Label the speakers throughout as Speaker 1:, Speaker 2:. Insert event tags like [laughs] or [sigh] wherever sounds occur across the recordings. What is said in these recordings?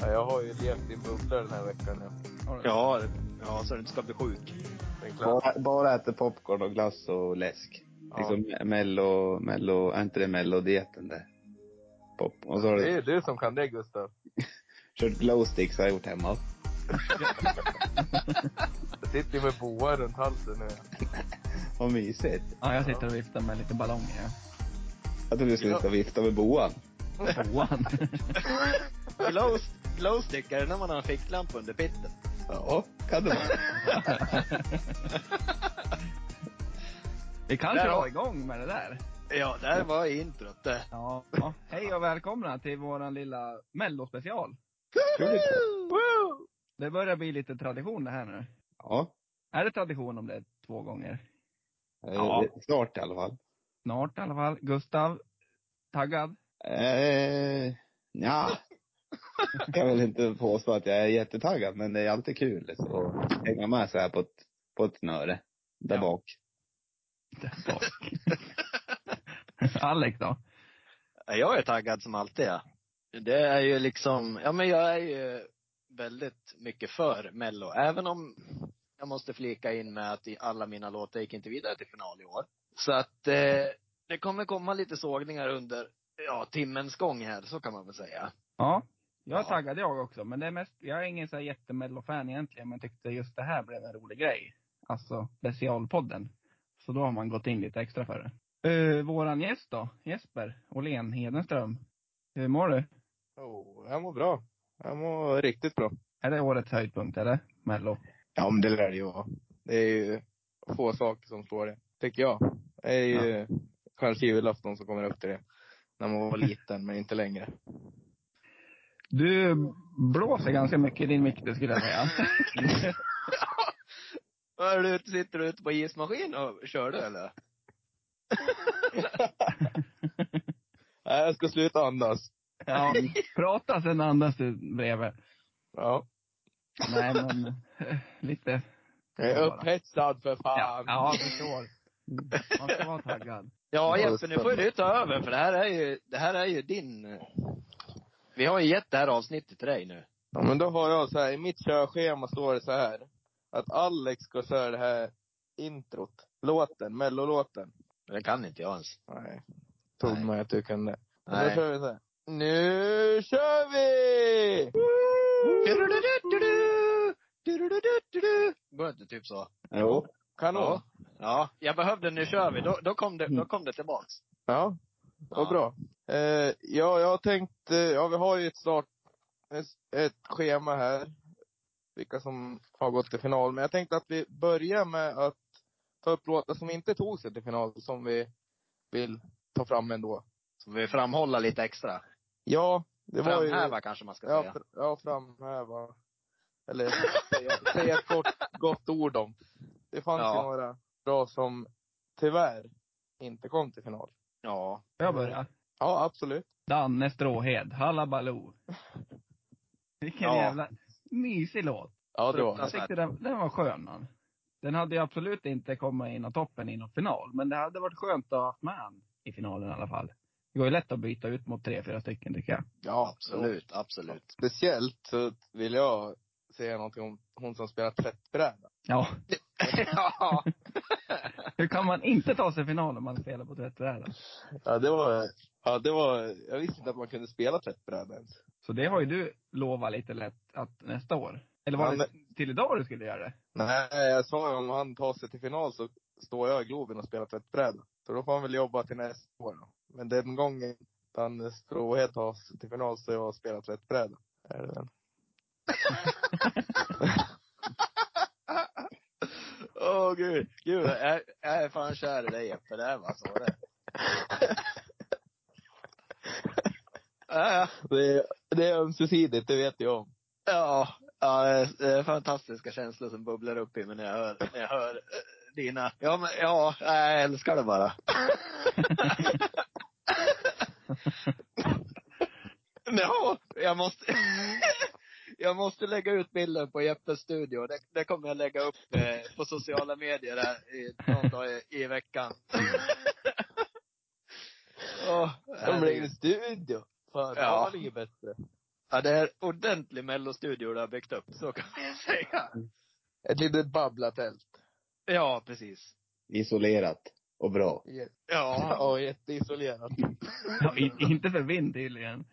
Speaker 1: Ja, jag har ju levt i bubblor den här veckan. Ja.
Speaker 2: Ja, ja, så du inte ska bli sjuk.
Speaker 1: Det är klart.
Speaker 3: Bara, bara äter popcorn och glass och läsk.
Speaker 1: Ja.
Speaker 3: Liksom mello, mello, är inte det mellodieten det? Pop. Och så har
Speaker 1: Det är
Speaker 3: du
Speaker 1: ju du som kan det, Gustav.
Speaker 3: kört glowsticks har jag gjort hemma.
Speaker 1: Jag sitter ju med boa runt halsen nu.
Speaker 3: Vad mysigt.
Speaker 4: Ja, jag sitter och viftar med lite ballonger.
Speaker 3: Jag trodde du skulle sitta och vifta med boan.
Speaker 4: Boan.
Speaker 2: Glow, glowstick, är det när man har en ficklampa under pitten?
Speaker 3: Ja, kan
Speaker 2: [laughs]
Speaker 3: det vara.
Speaker 4: Vi kanske
Speaker 2: Där har-
Speaker 4: drar igång med det där.
Speaker 2: Ja, där var introt det.
Speaker 4: Ja. ja. Hej och välkomna till våran lilla mellospecial. Det börjar bli lite tradition det här nu.
Speaker 3: Ja.
Speaker 4: Är det tradition om det är två gånger?
Speaker 3: eh,
Speaker 4: Ja.
Speaker 3: Snart i alla fall.
Speaker 4: Snart i alla fall. Gustav, taggad?
Speaker 3: Eh, ja. Jag kan väl inte påstå att jag är jättetaggad, men det är alltid kul liksom, att hänga med så här på ett, på ett snöre. Där
Speaker 4: Ja.
Speaker 3: bak.
Speaker 4: [laughs] Alex då?
Speaker 2: Ja, Jag är taggad som alltid ja. Det är ju liksom, ja men jag är ju väldigt mycket för mello. Även om jag måste flika in med att i alla mina låtar gick inte vidare till final i år. Så att eh, det kommer komma lite sågningar under, ja, timmens gång här, så kan man väl säga.
Speaker 4: Ja. Jag är
Speaker 2: Ja.
Speaker 4: taggad jag också, men det är mest, jag är ingen så här jättemellofan egentligen, men tyckte just det här blev en rolig grej. Alltså specialpodden. Så då har man gått in lite extra för det. Eh, våran gäst då, Jesper Åhlén Hedenström. Hur mår du?
Speaker 1: Oh, jag mår bra. Jag mår riktigt bra.
Speaker 4: Är det årets höjdpunkt eller? Mello?
Speaker 1: Ja, men det lär det ju vara. Det är ju få saker som slår det, tycker jag. Det är ju kanske julafton som kommer upp till det. När man var liten, men inte längre.
Speaker 4: Du blåser ganska mycket i din mick det skulle jag säga.
Speaker 2: Är du, sitter du ute på ismaskin och kör du eller?
Speaker 1: Nej, jag ska sluta andas.
Speaker 4: [laughs] ja, prata sen andas du bredvid.
Speaker 1: Ja.
Speaker 4: Nej men, eh, lite.
Speaker 1: Jag är upphetsad för
Speaker 4: Ja,
Speaker 1: fan.
Speaker 4: ja, jag förstår. Man ska vara taggad.
Speaker 2: Ja Jeppe, nu får ju du ta över för det här är ju, det här är ju din. eh, Vi har ju gett det här avsnittet till dig nu.
Speaker 1: Ja, men då har jag så här, i mitt körschema står det så här. Att Alex ska köra det här introt. Låten, mellolåten.
Speaker 2: Men det kan inte jag ens.
Speaker 1: Nej. Tog
Speaker 2: Nej.
Speaker 1: mig att du kunde. Och Då
Speaker 2: Nej.
Speaker 1: kör vi så här. Nu kör vi!
Speaker 2: Går inte typ så?
Speaker 3: Jo.
Speaker 1: Kanon.
Speaker 2: Ja. Ja, jag behövde nu kör vi. Då, då, kom, det, då kom det tillbaks.
Speaker 1: Ja, vad
Speaker 2: Ja.
Speaker 1: bra. Eh, ja, jag har tänkt, eh, ja vi har ju ett start, ett- ett schema här. Vilka som har gått till final. Men jag tänkte att vi börjar med att ta upp låtar som inte tog sig till final, som vi vill ta fram ändå.
Speaker 2: Som vi framhålla lite extra.
Speaker 1: Ja, det var ju...
Speaker 2: Framhäva kanske man ska
Speaker 1: Ja,
Speaker 2: säga.
Speaker 1: fr- ja, framhäva. [laughs] Eller säga, säga ett kort, gott ord om. Det fanns
Speaker 2: Ja.
Speaker 1: ju några bra som tyvärr inte kom till final.
Speaker 2: Ja.
Speaker 4: Får jag börja?
Speaker 1: Ja, absolut.
Speaker 4: Danne Stråhed, Hallabaloo. Vilken
Speaker 2: Ja.
Speaker 4: jävla mysig låt.
Speaker 1: Ja, det var
Speaker 4: Jag
Speaker 1: det.
Speaker 4: tyckte den, den var skön. han. Den hade ju absolut inte kommit in i toppen i någon final, men det hade varit skönt att ha haft med han i finalen i alla fall. Det går ju lätt att byta ut mot tre, fyra stycken tycker jag.
Speaker 1: Ja,
Speaker 2: Absolut, absolut. [laughs]
Speaker 1: Speciellt så vill jag säga någonting om hon som spelar tvättbräda. [laughs]
Speaker 4: Ja.
Speaker 2: ja.
Speaker 4: Hur kan man inte ta sig final om man spelar på tvättbrädan?
Speaker 1: Ja, det var, ja, det var, jag visste inte att man kunde spela tvättbräda ens.
Speaker 4: Så det har ju du lovat lite lätt att nästa år. Eller var
Speaker 1: Ja,
Speaker 4: det till idag du skulle göra
Speaker 1: [laughs]
Speaker 4: det?
Speaker 1: Nej, jag sa ju om han tar sig till final så står jag i Globen och spelar tvättbräda. Så då får han väl jobba till nästa år då. Men den gången Danne Stråhed tar sig till final så har jag spelat tvättbräda. Är det väl?
Speaker 2: Åh gud, gud. Jag, jag är fan kär i dig Jeppe, det här var så
Speaker 1: [laughs]
Speaker 2: det. Ja,
Speaker 1: Det är, det är ömsesidigt, det vet jag om.
Speaker 2: Ja, ja, det är fantastiska känslor som bubblar upp i mig när jag hör, när jag hör eh, dina. Ja, men ja, jag älskar det bara. [laughs] Ja, jag måste, [laughs] jag måste lägga ut bilden på Jeppes studio. Det, det kommer jag lägga upp eh, på sociala medier här i, någon dag i, i veckan. [laughs] Åh,
Speaker 1: De blev i studio. Fan,
Speaker 2: Ja.
Speaker 1: det var inget bättre.
Speaker 2: Ja, det är ordentlig mellostudio du har byggt upp, så kan vi säga.
Speaker 1: Ett litet babblatält.
Speaker 2: Ja, precis.
Speaker 3: Isolerat och bra.
Speaker 1: Yes.
Speaker 2: Ja. [laughs]
Speaker 1: Ja, jätteisolerat.
Speaker 4: Ja, in, inte för vind tydligen.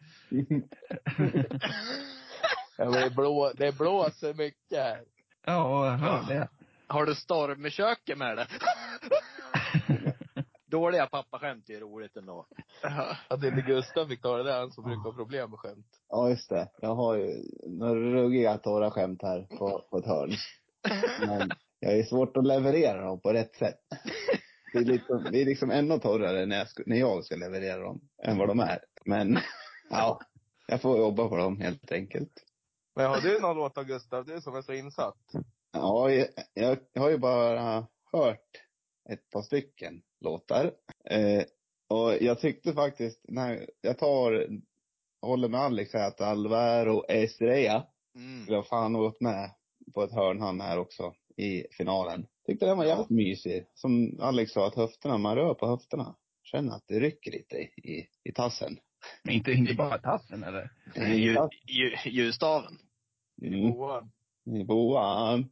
Speaker 1: Ja, men det, blå, det blåser mycket här.
Speaker 4: Ja, jag hör det.
Speaker 2: Har du storm i köket med det? Dåliga pappaskämt är roligt ändå.
Speaker 1: Att inte Gustav fick ta det där, han som brukar ha problem med skämt.
Speaker 3: Ja, just det. Jag har ju några ruggiga torra skämt här på, på ett hörn. Men jag är svårt att leverera dem på rätt sätt. Det är liksom, det är liksom ännu torrare när jag, ska, när jag ska leverera dem än vad de är. Men [laughs] ja, jag får jobba på dem helt enkelt.
Speaker 1: Men har du någon låt av Gustav, du som är så insatt?
Speaker 3: Ja, jag, jag har ju bara hört ett par stycken låtar. Eh, och jag tyckte faktiskt, när jag tar, håller med Alex här, att Alvaro Estrella
Speaker 2: Mm.
Speaker 3: skulle ha fan gått med på ett hörn han här också i finalen. Tyckte den var jävligt mysig. Som Alex sa, att höfterna, man rör på höfterna. Känner att det rycker lite i, i tassen.
Speaker 4: Men inte, inte bara tassen eller?
Speaker 2: Ljus, ljus, ljusstaven.
Speaker 3: Mm,
Speaker 1: Johan.
Speaker 3: I boan.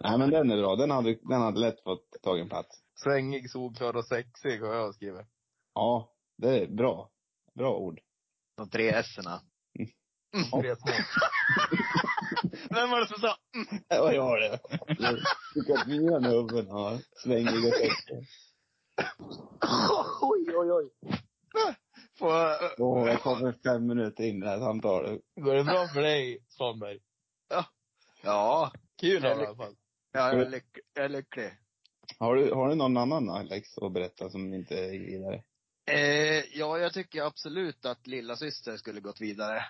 Speaker 3: Nej men den är bra. Den hade, den hade lätt fått tag i en plats.
Speaker 1: Svängig, solklar och sexig har jag skrivit.
Speaker 3: Ja, det är bra. Bra ord.
Speaker 2: [laughs] De tre s-erna.
Speaker 1: Tre små.
Speaker 2: Vem var det som sa?
Speaker 3: Det var jag det. Jag tycker att mina huvuden har svängiga texter.
Speaker 1: Oj, oj, oj.
Speaker 2: På,
Speaker 3: Åh, jag kommer fem minuter in i det här samtalet.
Speaker 1: Går det bra för dig, Svanberg?
Speaker 2: ja.
Speaker 1: Kul i alla fall.
Speaker 2: ja jag, är lyck, jag är lycklig.
Speaker 3: Har du, har du någon annan Alex att berätta som inte är vidare?
Speaker 2: Eh, ja, jag tycker absolut att lilla syster skulle gått vidare.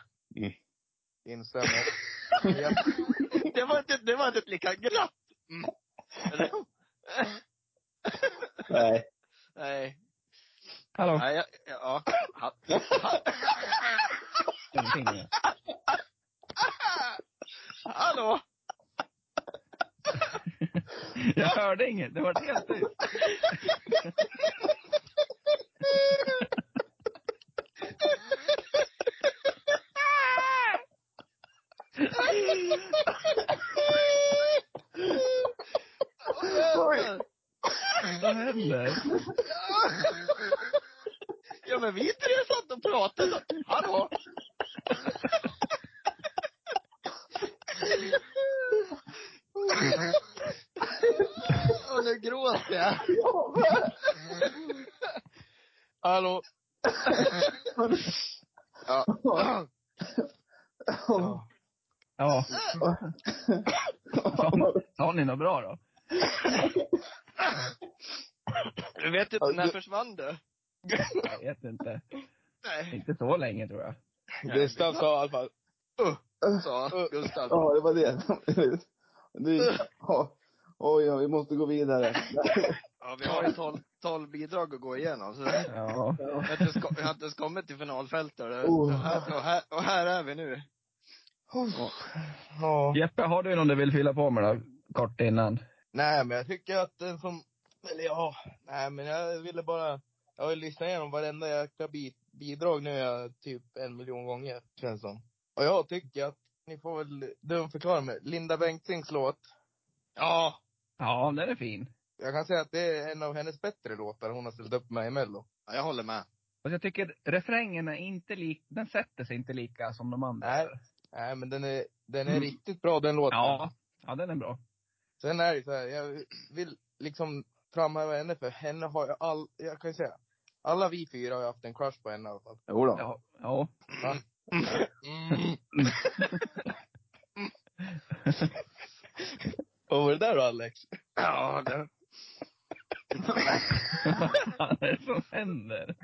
Speaker 1: Instämmer. Ja.
Speaker 2: Det var inte, det var inte ett lika glatt. Mm. Eller?
Speaker 3: Nej.
Speaker 2: Nej.
Speaker 4: Hallå?
Speaker 2: Nej, jag- ja. ja.
Speaker 4: Ingenting.
Speaker 2: Hallå?
Speaker 4: Jag hörde inget. Det var helt tyst.
Speaker 2: Oj.
Speaker 4: Vad händer?
Speaker 2: Ja men vi tre satt och pratade. Hallå? Och nu gråter jag.
Speaker 1: Hallå?
Speaker 2: Ja.
Speaker 4: Ja. Sa ni något bra då?
Speaker 2: Du vet inte, när försvann du?
Speaker 4: Jag vet inte.
Speaker 2: Nej.
Speaker 4: Inte så länge tror jag.
Speaker 1: Gustav sa i alla fall.
Speaker 2: Sa Gustav.
Speaker 3: Ja, det var det. [laughs] Du, ja. Oj, ja, vi måste gå vidare. [laughs]
Speaker 2: Ja, vi har ju 12, 12 bidrag att gå igenom. Så jag
Speaker 4: Ja.
Speaker 2: har inte ens kom- jag har inte ens kommit till finalfältet. Och, det-
Speaker 3: Oh.
Speaker 2: och, här, och, här, och här är vi nu.
Speaker 1: Ja.
Speaker 4: Jeppe, har du någon du vill fylla på med då? Kort innan.
Speaker 1: Nej, men jag tycker att den som, eller ja, nej men jag ville bara, jag har ju lyssnat igenom varenda jäkla bit, bidrag nu jag typ en miljon gånger, känns som. Och jag tycker att, ni får väl dumförklara mig, Linda Bengtzings låt,
Speaker 2: Ja.
Speaker 4: Ja, den är fin.
Speaker 1: jag kan säga att det är en av hennes bättre låtar hon har ställt upp med i Mello.
Speaker 2: Ja, Jag håller med.
Speaker 4: Och jag tycker refrängen är inte lik, den sätter sig inte lika som de andra.
Speaker 1: Nej, nej men den är, den är
Speaker 4: Mm.
Speaker 1: riktigt bra den låten.
Speaker 4: Ja. Ja, den är bra.
Speaker 1: Sen är det så här, jag vill liksom framhäva henne för henne har jag all, jag kan ju säga, alla vi fyra har ju haft en crush på henne i alla fall.
Speaker 3: Jo då.
Speaker 4: Ja. Ja. [laughs]
Speaker 1: Mm. [laughs] Vad var det där då Alex?
Speaker 2: Ja, det.
Speaker 4: Vad är det som händer?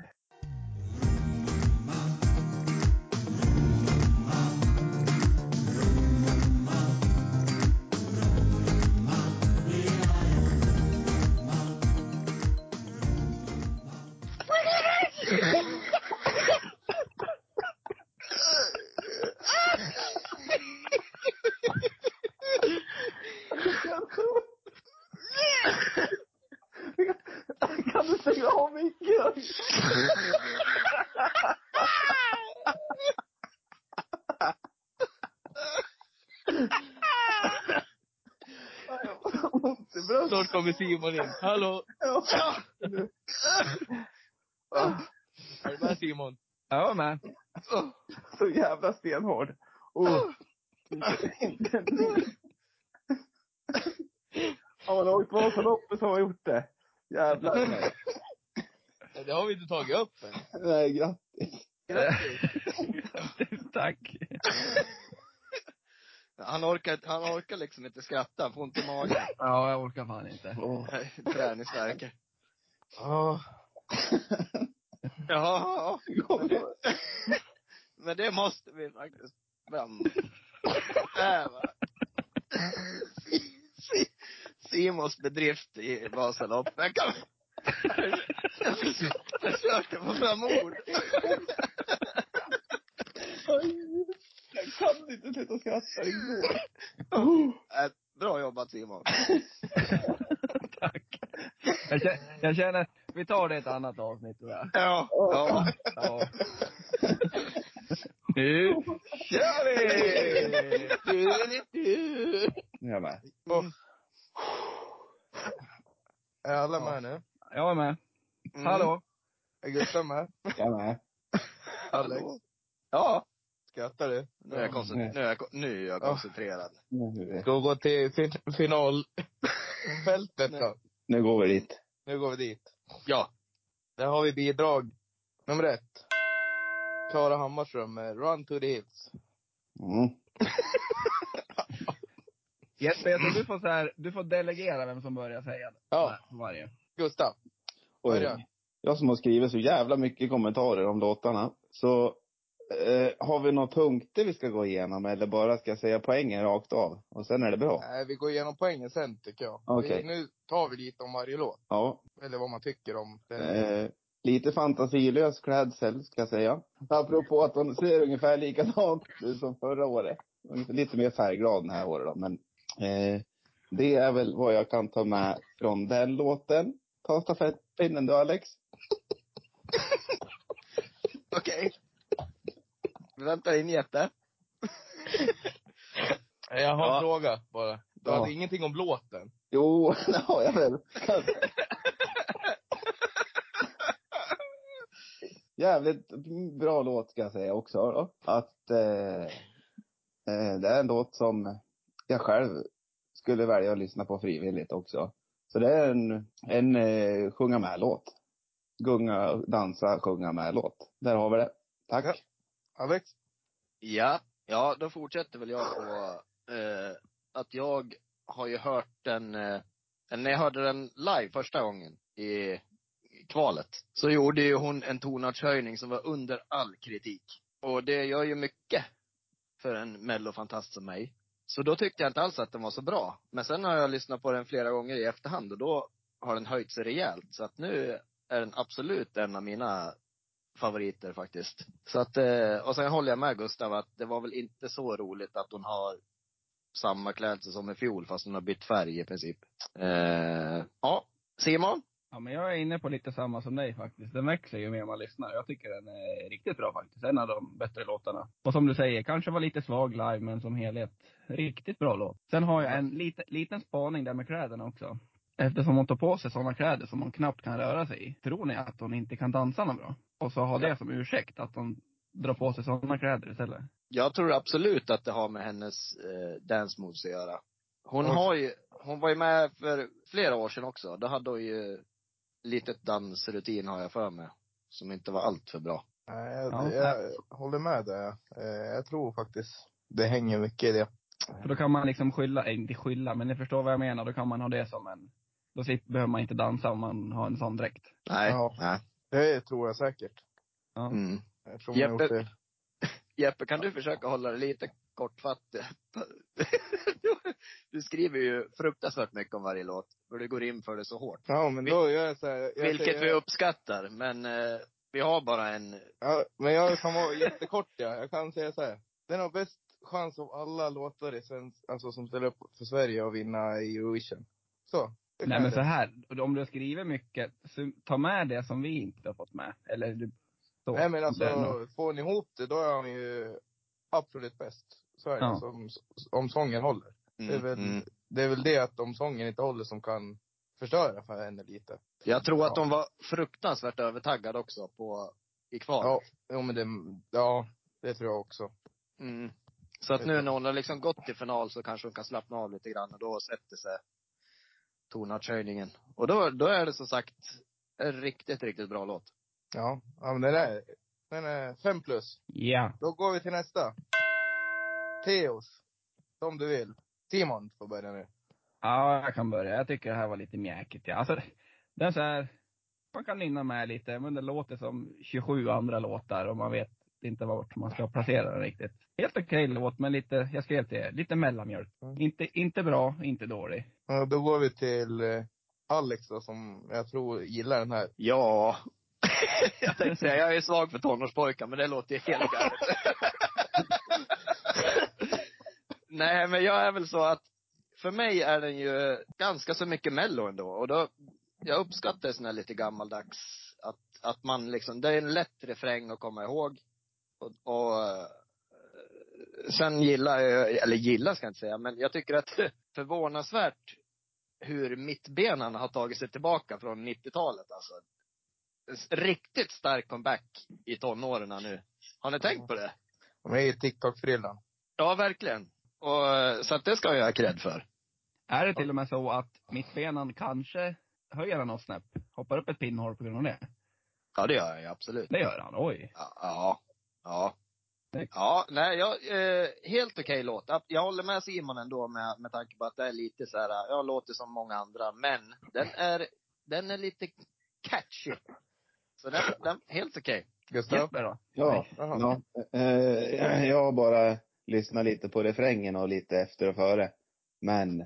Speaker 3: Kan du stänga av micken?
Speaker 4: snart kommer Simon in. Hallå!
Speaker 1: Är du med Simon?
Speaker 4: Ja, men.
Speaker 3: Så jävla stenhård. Oh. Har man åkt Vasaloppet så har man gjort det. Jävlar.
Speaker 1: Det har vi inte tagit upp än.
Speaker 3: Nej, grattis.
Speaker 4: [laughs] Tack.
Speaker 2: Han orkar, han orkar liksom inte skratta, han får inte magen.
Speaker 4: Ja, jag orkar fan inte.
Speaker 3: Åh.
Speaker 2: Nej, Träningsvärk.
Speaker 1: Ja.
Speaker 2: Ja, men det måste vi faktiskt fram. Där, va. Si- Simons bedrift i Vasaloppet. Jag kan... Jag försöker- jag försöker få fram ord.
Speaker 3: Jag kan inte sluta skratta. Det går.
Speaker 2: Äh, Bra jobbat Simon.
Speaker 4: Jag känner, jag känner, vi tar det i ett annat avsnitt tror jag.
Speaker 2: Ja. ja.
Speaker 4: Ja. Nu kör vi!
Speaker 3: Nu är jag med.
Speaker 1: Är alla med nu?
Speaker 4: Jag är med.
Speaker 2: Mm.
Speaker 4: Hallå!
Speaker 1: Är Gustav med?
Speaker 3: Jag är med.
Speaker 1: Alex?
Speaker 2: Ja.
Speaker 1: Skrattar du?
Speaker 2: Nu är jag, koncent- nu är jag, ko- nu är jag
Speaker 1: Ja.
Speaker 2: koncentrerad.
Speaker 3: Nu, är vi-
Speaker 1: Ska vi gå till fin- finalfältet då?
Speaker 3: nu går vi dit.
Speaker 1: Nu går vi dit.
Speaker 2: Ja.
Speaker 1: Där har vi bidrag nummer ett. Klara Hammarström med Run to the Hills.
Speaker 3: Mm.
Speaker 4: Jesper, jag tror du får så här, du får delegera vem som börjar säga det.
Speaker 1: Ja,
Speaker 4: Varje.
Speaker 1: Gustav. Börja.
Speaker 3: Oj, jag som har skrivit så jävla mycket kommentarer om låtarna. Så eh, har vi några punkter vi ska gå igenom eller bara ska jag säga poängen rakt av? Och sen är det bra?
Speaker 1: Nej, eh, vi går igenom poängen sen tycker jag.
Speaker 3: Okej.
Speaker 1: Vi, nu tar vi lite om varje låt.
Speaker 3: Ja.
Speaker 1: Eller vad man tycker om den.
Speaker 3: Eh, lite fantasilös klädsel ska jag säga. Apropå att hon ser ungefär likadant ut som förra året. Ungefär Lite mer färgglad den här året då. Men eh, det är väl vad jag kan ta med från den låten. Ta stafettpinnen du Alex.
Speaker 2: Okej. Vi väntar in Jeppe.
Speaker 1: Jag har
Speaker 2: Ja.
Speaker 1: en fråga bara. Du
Speaker 3: Ja.
Speaker 1: hade ingenting om låten?
Speaker 3: Jo, [laughs] det har jag väl. Kanske. Jävligt bra låt ska jag säga också då. Att eh, eh, det är en låt som jag själv skulle välja att lyssna på frivilligt också. Så det är en, en eh, sjunga med-låt. Gunga, dansa, sjunga med-låt. Där har vi det. Tack.
Speaker 1: Ja. Alex?
Speaker 2: Ja, ja då fortsätter väl jag på eh, att jag har ju hört den, eh, när jag hörde den live första gången i i kvalet, så gjorde ju hon en tonartshöjning som var under all kritik. Och det gör ju mycket för en mellofantast som mig. Så då tyckte jag inte alls att den var så bra. Men sen har jag lyssnat på den flera gånger i efterhand och då har den höjt sig rejält. Så att nu är den absolut en av mina favoriter faktiskt. Så att, eh, och sen håller jag med Gustav att det var väl inte så roligt att hon har samma klädsel som i fjol fast hon har bytt färg i princip. Eh, ja, Simon?
Speaker 4: Ja, men jag är inne på lite samma som dig faktiskt. Den växer ju mer man lyssnar. Jag tycker den är riktigt bra faktiskt. En av de bättre låtarna. Och som du säger, kanske var lite svag live, men som helhet, riktigt bra låt. Sen har jag en lite, liten spaning där med kläderna också. Eftersom hon tar på sig sådana kläder som hon knappt kan röra sig i, tror ni att hon inte kan dansa något bra? Och så har det som ursäkt att hon drar på sig sådana kläder istället.
Speaker 2: Jag tror absolut att det har med hennes eh, dance moves att göra. Hon
Speaker 1: Oj.
Speaker 2: har ju, hon var ju med för flera år sedan också. Då hade hon ju litet dansrutin har jag för mig. Som inte var allt för bra.
Speaker 1: Nej, jag,
Speaker 4: Ja.
Speaker 1: jag håller med där. Eh, jag tror faktiskt det hänger mycket i det.
Speaker 4: För då kan man liksom skylla, eh, inte skylla, men ni förstår vad jag menar. Då kan man ha det som en, då slipper- behöver man inte dansa om man har en sån dräkt.
Speaker 2: Nej.
Speaker 1: Ja.
Speaker 2: Nej.
Speaker 1: Det tror jag säkert.
Speaker 4: Ja.
Speaker 2: Mm.
Speaker 1: Jag tror man har
Speaker 2: Jeppe.
Speaker 1: gjort det.
Speaker 2: Jeppe, kan du försöka hålla det lite kortfattat? [laughs] Du skriver ju fruktansvärt mycket om varje låt. För du går in för det så hårt.
Speaker 1: Ja, men då gör jag så här. Jag,
Speaker 2: Vilket
Speaker 1: jag,
Speaker 2: vi uppskattar. Men eh, vi har bara en
Speaker 1: Ja, men jag kan vara jättekort ja. Jag kan säga så här. Den har bäst chans av alla låtar i svensk, alltså som ställer upp för Sverige att vinna i Eurovision. Så. det
Speaker 4: Nej
Speaker 1: kan
Speaker 4: men
Speaker 1: jag
Speaker 4: så
Speaker 1: säga.
Speaker 4: här, om du skriver mycket, så ta med det som vi inte har fått med. Eller du, så.
Speaker 1: Nej men alltså,
Speaker 4: Det är nog-
Speaker 1: får ni ihop det då är han ju absolut bäst. Så är det.
Speaker 4: Ja.
Speaker 1: Alltså, om, om sången håller. Det är väl-
Speaker 2: mm.
Speaker 1: Det är väl det att om sången inte håller som kan förstöra för henne lite.
Speaker 2: Jag tror att
Speaker 1: Ja.
Speaker 2: de var fruktansvärt övertaggade också på, i kval.
Speaker 1: Ja, jo, men det, ja, det tror jag också.
Speaker 2: Mm. Så att nu när hon har liksom gått till final så kanske hon kan slappna av lite grann och då sätter sig tonartshöjningen. Och då, då är det som sagt en riktigt, riktigt bra låt.
Speaker 1: Ja, ja men den är, den är fem plus.
Speaker 4: Ja.
Speaker 1: Då går vi till nästa. Teos. Som du vill. Timon får börja nu.
Speaker 4: Ja, jag kan börja. Jag tycker det här var lite mjäkigt. Ja. Alltså, det är så här, man kan nynna med lite, men det låter som 27 andra låtar och man vet inte vart man ska placera den riktigt. Helt okej låt, men lite, jag skrev till er, lite mellanmjölk.
Speaker 1: Mm.
Speaker 4: Inte, inte bra, inte dålig.
Speaker 1: Ja, då går vi till eh, Alex då, som jag tror gillar den här.
Speaker 2: Ja. [laughs] jag tänkte säga, jag är svag för tonårspojkar, men det låter ju helt galet. Nej, men jag är väl så att för mig är den ju ganska så mycket mello ändå. Och då, jag uppskattar sån här lite gammaldags, att, att man liksom, det är en lätt refräng att komma ihåg. Och, och eh, sen gillar jag, eller gillar ska jag inte säga, men jag tycker att [laughs] förvånansvärt hur mittbenarna har tagit sig tillbaka från 90-talet alltså. En s- Riktigt stark comeback i tonåren nu. Har ni tänkt på det?
Speaker 1: De är i TikTok-frillan.
Speaker 2: Ja, verkligen. Och, eh, så att det ska jag ha cred för.
Speaker 4: Är det till och med så att mittbenan kanske höjer han något snäpp? Hoppar upp ett pinnhål på grund av det?
Speaker 2: Ja, det gör jag ju, absolut.
Speaker 4: Det gör han. Oj.
Speaker 2: Ja. Ja. Ja,
Speaker 4: Tack.
Speaker 2: ja nej, jag, eh, helt okej låt. Ab- Jag håller med Simon ändå med, med tanke på att det är lite så här, jag låter som många andra, men den är, den är lite catchy. Så den, den helt okej.
Speaker 1: Gustav?
Speaker 4: Jesper då?
Speaker 3: Ja,
Speaker 1: Jaha.
Speaker 3: ja eh, jag har bara lyssnat lite på refrängen och lite efter och före. Men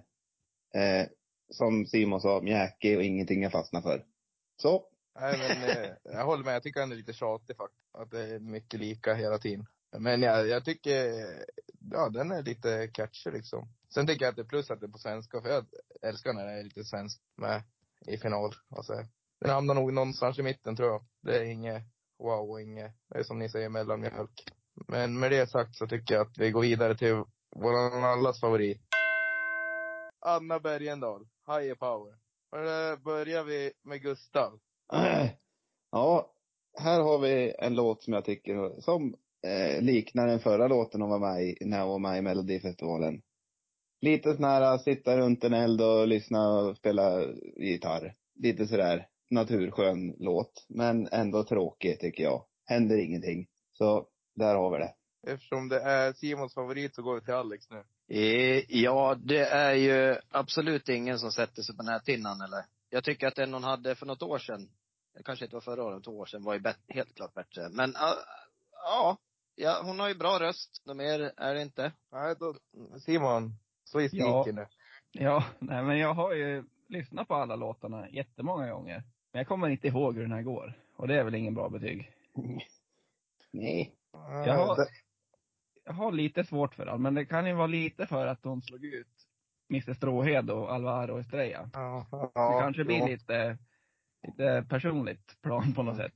Speaker 3: eh, som Simon sa, mjäkig och ingenting jag fastnar för. Så,
Speaker 1: Nej, men eh, jag håller med. Jag tycker han är lite tjatig faktiskt. Att det är mycket lika hela tiden. Men jag, jag tycker, eh, ja den är lite catchy liksom. Sen tycker jag att det är plus att det är på svenska, för jag älskar när det är lite svensk med i final. Alltså, den hamnar nog någonstans i mitten tror jag. Det är inget wow och inget, det är som ni säger, mellanmjölk. Men med det sagt så tycker jag att vi går vidare till våran allas favorit. Anna Bergendahl, Higher Power. Och där börjar vi med Gustav.
Speaker 3: Ja, här har vi en låt som jag tycker som eh, liknar den förra låten hon var med i, när hon var med i Melodifestivalen. Lite sån här, sitta runt en eld och lyssna och spela gitarr. Lite sådär naturskön låt, men ändå tråkig tycker jag. Händer ingenting. Så där har vi det.
Speaker 1: Eftersom det är Simons favorit så går vi till Alex nu.
Speaker 2: Eh, Ja, det är ju absolut ingen som sätter sig på näthinnan eller. Jag tycker att den hon hade för något år sedan, det kanske inte var förra året, två år sedan, var ju bet- helt klart bättre. Men ah, ja, ja, hon har ju bra röst. Något mer är det inte.
Speaker 1: Nej, då, Simon, så i
Speaker 4: Ja.
Speaker 1: sneaken nu.
Speaker 4: Ja, nej men jag har ju lyssnat på alla låtarna jättemånga gånger. Men jag kommer inte ihåg hur den här går. Och det är väl ingen bra betyg.
Speaker 3: Nej.
Speaker 1: Ja,
Speaker 4: Jag har,
Speaker 1: Eh, det-
Speaker 4: jag har lite svårt för den, men det kan ju vara lite för att de slog ut Mr Stråhed och Alvaro Estrella.
Speaker 1: ja,
Speaker 4: Det
Speaker 1: ja,
Speaker 4: kanske blir
Speaker 1: ja.
Speaker 4: lite, lite personligt plan på något sätt.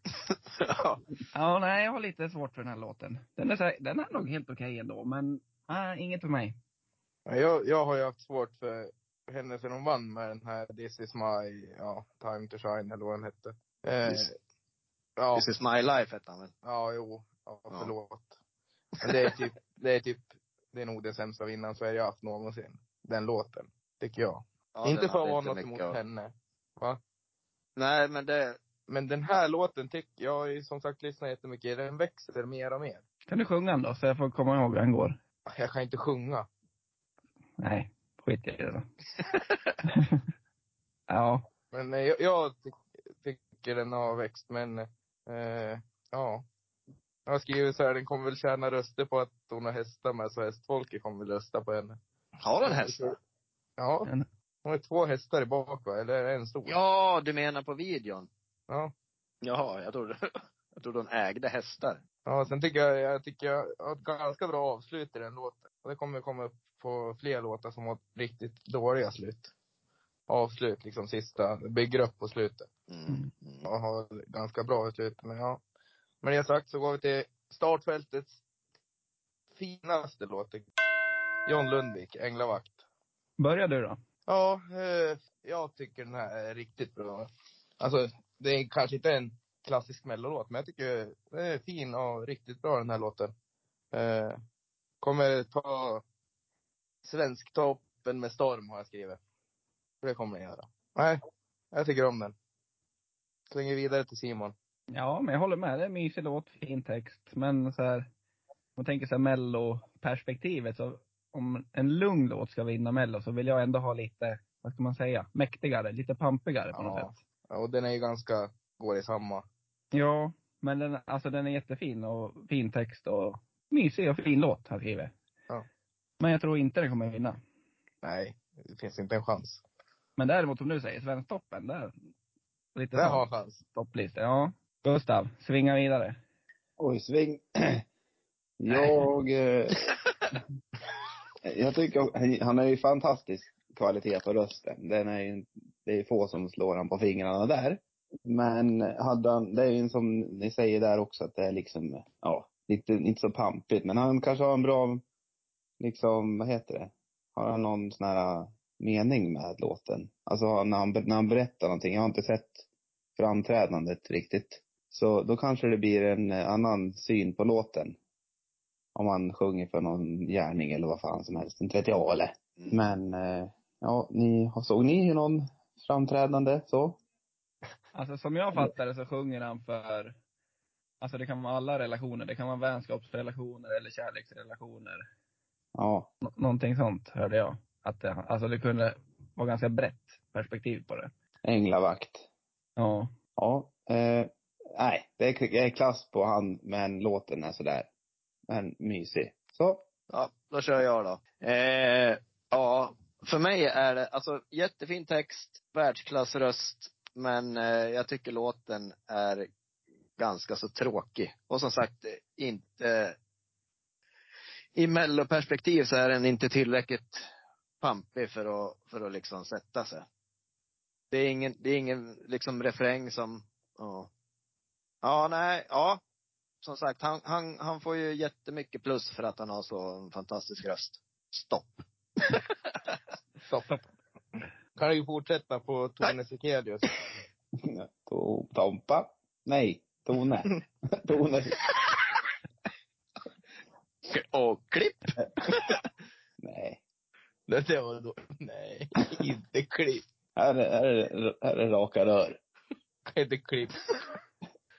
Speaker 2: ja.
Speaker 4: Ja, nej, jag har lite svårt för den här låten. Den är, så här, den är nog helt okej ändå, men nej, inget för mig.
Speaker 1: Ja, Jag, jag har ju haft svårt för henne sen hon vann med den här This is my, ja, time to shine eller vad den hette. Eh,
Speaker 2: This-
Speaker 1: ja,
Speaker 2: This is my life hette han väl?
Speaker 1: ja, jo, ja,
Speaker 2: Ja.
Speaker 1: förlåt. Men det är typ, det är typ, det är nog den sämsta vinnaren Sverige har haft någonsin. Den låten, tycker jag.
Speaker 2: Ja,
Speaker 1: inte
Speaker 2: den
Speaker 1: för att
Speaker 2: hade
Speaker 1: vara
Speaker 2: inte
Speaker 1: något
Speaker 2: mycket
Speaker 1: emot
Speaker 2: att-
Speaker 1: henne.
Speaker 2: Nej, men det,
Speaker 1: Men den här låten tycker jag, har ju som sagt lyssnar jättemycket, den växer mer och mer.
Speaker 4: Kan du sjunga den då, så jag får komma ihåg hur den går?
Speaker 1: Jag kan inte sjunga.
Speaker 4: Nej, skit i
Speaker 1: [laughs]
Speaker 4: det då. [laughs] ja,
Speaker 1: Men eh, jag, jag ty tycker den har växt, men eh, ja. Jag har skrivit så här, den kommer väl tjäna röster på att hon har hästar med, så hästfolket kommer väl rösta på henne.
Speaker 2: har den häst?
Speaker 1: Ja.
Speaker 4: Men-
Speaker 1: Hon har två hästar i bak va? Eller är det en stor?
Speaker 2: Ja, du menar på videon?
Speaker 1: Ja.
Speaker 2: Jaha, jag trodde, [laughs] jag trodde hon ägde hästar.
Speaker 1: Ja, sen tycker jag, jag tycker jag har ett ganska bra avslut i den låten. Och det kommer komma upp på fler låtar som har riktigt dåliga slut. Avslut, liksom sista, bygger upp på slutet.
Speaker 2: Mm. Mm.
Speaker 1: och har ganska bra utbyte. Men ja. Med det sagt så går vi till startfältets finaste låt. John Lundvik, Änglavakt.
Speaker 4: börja du då.
Speaker 1: Ja, eh, jag tycker den här är riktigt bra. Alltså, det är kanske inte en klassisk mellolåt, men jag tycker den är fin och riktigt bra den här låten. Eh, kommer ta Svensktoppen med storm har jag skrivit. För det kommer den göra. Nej, jag tycker om den. Slänger vidare till Simon.
Speaker 4: Ja, men jag håller med. Det är en mysig låt, fin text. Men så här, om man tänker så här melloperspektivet, så om en lugn låt ska vinna mello så vill jag ändå ha lite, vad ska man säga, mäktigare, lite pampigare på något
Speaker 1: Ja.
Speaker 4: sätt.
Speaker 1: Ja, Och den är ju ganska, går i samma.
Speaker 4: Ja, men den, alltså den är jättefin och fin text och mysig och fin låt har jag skrivit.
Speaker 1: Ja.
Speaker 4: Men jag tror inte den kommer vinna.
Speaker 1: Nej, det finns inte en chans.
Speaker 4: Men däremot som du säger, Svensktoppen, där. Lite
Speaker 1: Den har
Speaker 4: sån
Speaker 1: en chans.
Speaker 4: topplista. Ja. Gustav, svinga vidare.
Speaker 3: Oj, sving. [clears throat] Jag... eh, [laughs] jag tycker han är ju fantastisk kvalitet på rösten. Den är ju, det är ju få som slår han på fingrarna där. Men hade han, det är ju som ni säger där också att det är liksom, ja, lite, inte så pampigt. Men han kanske har en bra, liksom, vad heter det? Har han någon sån här äh, mening med låten? Alltså när han, när han berättar någonting. Jag har inte sett framträdandet riktigt. Så då kanske det blir en eh, annan syn på låten. Om man sjunger för någon gärning eller vad fan som helst. Inte vet jag eller. Men, eh, ja, ni, såg ni någon framträdande så?
Speaker 4: Alltså som jag fattar det så sjunger han för, alltså det kan vara alla relationer. Det kan vara vänskapsrelationer eller kärleksrelationer.
Speaker 3: Ja.
Speaker 4: Nå- någonting sånt hörde jag. Att det, alltså det kunde vara ganska brett perspektiv på det.
Speaker 3: Änglavakt.
Speaker 4: Ja.
Speaker 3: Ja. Eh, nej, det är, det är klass på han, men låten är sådär. Men mysig. Så. [laughs]
Speaker 2: Ja, då kör jag då. Eh, ja, för mig är det alltså jättefin text, världsklassröst, men eh, jag tycker låten är ganska så tråkig. Och som sagt, eh, inte i melloperspektiv så är den inte tillräckligt pampig för att, för att liksom sätta sig. Det är ingen, det är ingen liksom refräng som, ja. Ja, nej, ja, som sagt, han, han, han får ju jättemycket plus för att han har så en fantastisk röst. Stopp.
Speaker 1: Stopp. Kan du ju fortsätta på Tone Sekelius.
Speaker 3: To- Tompa. Nej, Tone. [laughs] Tone.
Speaker 2: Och klipp!
Speaker 3: Nej.
Speaker 1: [laughs] Det där var då. Nej, inte klipp.
Speaker 3: Här är, här är, här är raka rör.
Speaker 1: Inte klipp.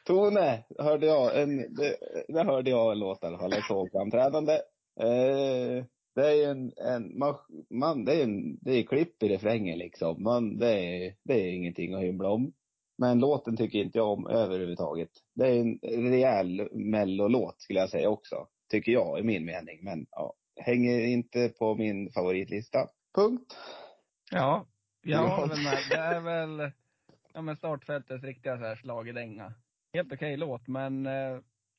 Speaker 3: Tone, hörde jag. En, det, det hörde jag en låt i alla fall. Ett sågframträdande. Eh, det är ju en, en man, man, det är en, det är klipp i refrängen liksom. Man, det är, det är ingenting att hymla om. Men låten tycker inte jag om överhuvudtaget. Det är en rejäl mellolåt skulle jag säga också. Tycker jag, i min mening. Men ja, hänger inte på min favoritlista. Punkt.
Speaker 4: Ja. Jag
Speaker 1: Ja.
Speaker 4: håller väl med. Det är väl, ja men startfältets riktiga så här slagedänga. Helt okej låt, men eh,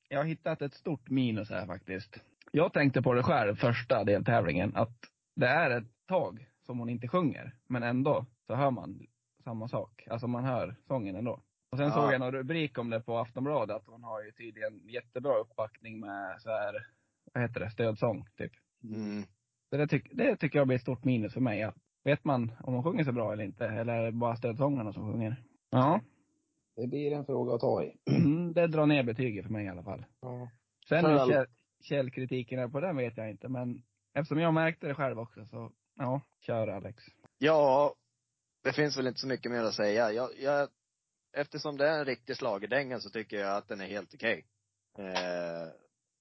Speaker 4: jag har hittat ett stort minus här faktiskt. Jag tänkte på det själv, första deltävlingen, att det är ett tag som hon inte sjunger, men ändå så hör man samma sak. Alltså man hör sången ändå. Och sen
Speaker 2: Ja.
Speaker 4: såg jag någon rubrik om det på Aftonbladet, att hon har ju tydligen jättebra uppbackning med så här, vad heter det, stödsång typ.
Speaker 2: Mm.
Speaker 4: Så det, tyck, det tycker jag blir ett stort minus för mig. Att, vet man om de sjunger så bra eller inte? Eller är det bara stödsångarna som sjunger? Ja,
Speaker 3: Det blir en fråga att ta i.
Speaker 4: mm, det drar ner betyget för mig i alla fall.
Speaker 1: Ja.
Speaker 4: Sen
Speaker 1: För
Speaker 4: hur
Speaker 1: all-
Speaker 4: käll, källkritiken är på den vet jag inte, men eftersom jag märkte det själv också så, ja, kör Alex.
Speaker 2: Ja, det finns väl inte så mycket mer att säga. Jag, jag, eftersom det är en riktig schlagerdänga så tycker jag att den är helt okej. Eh,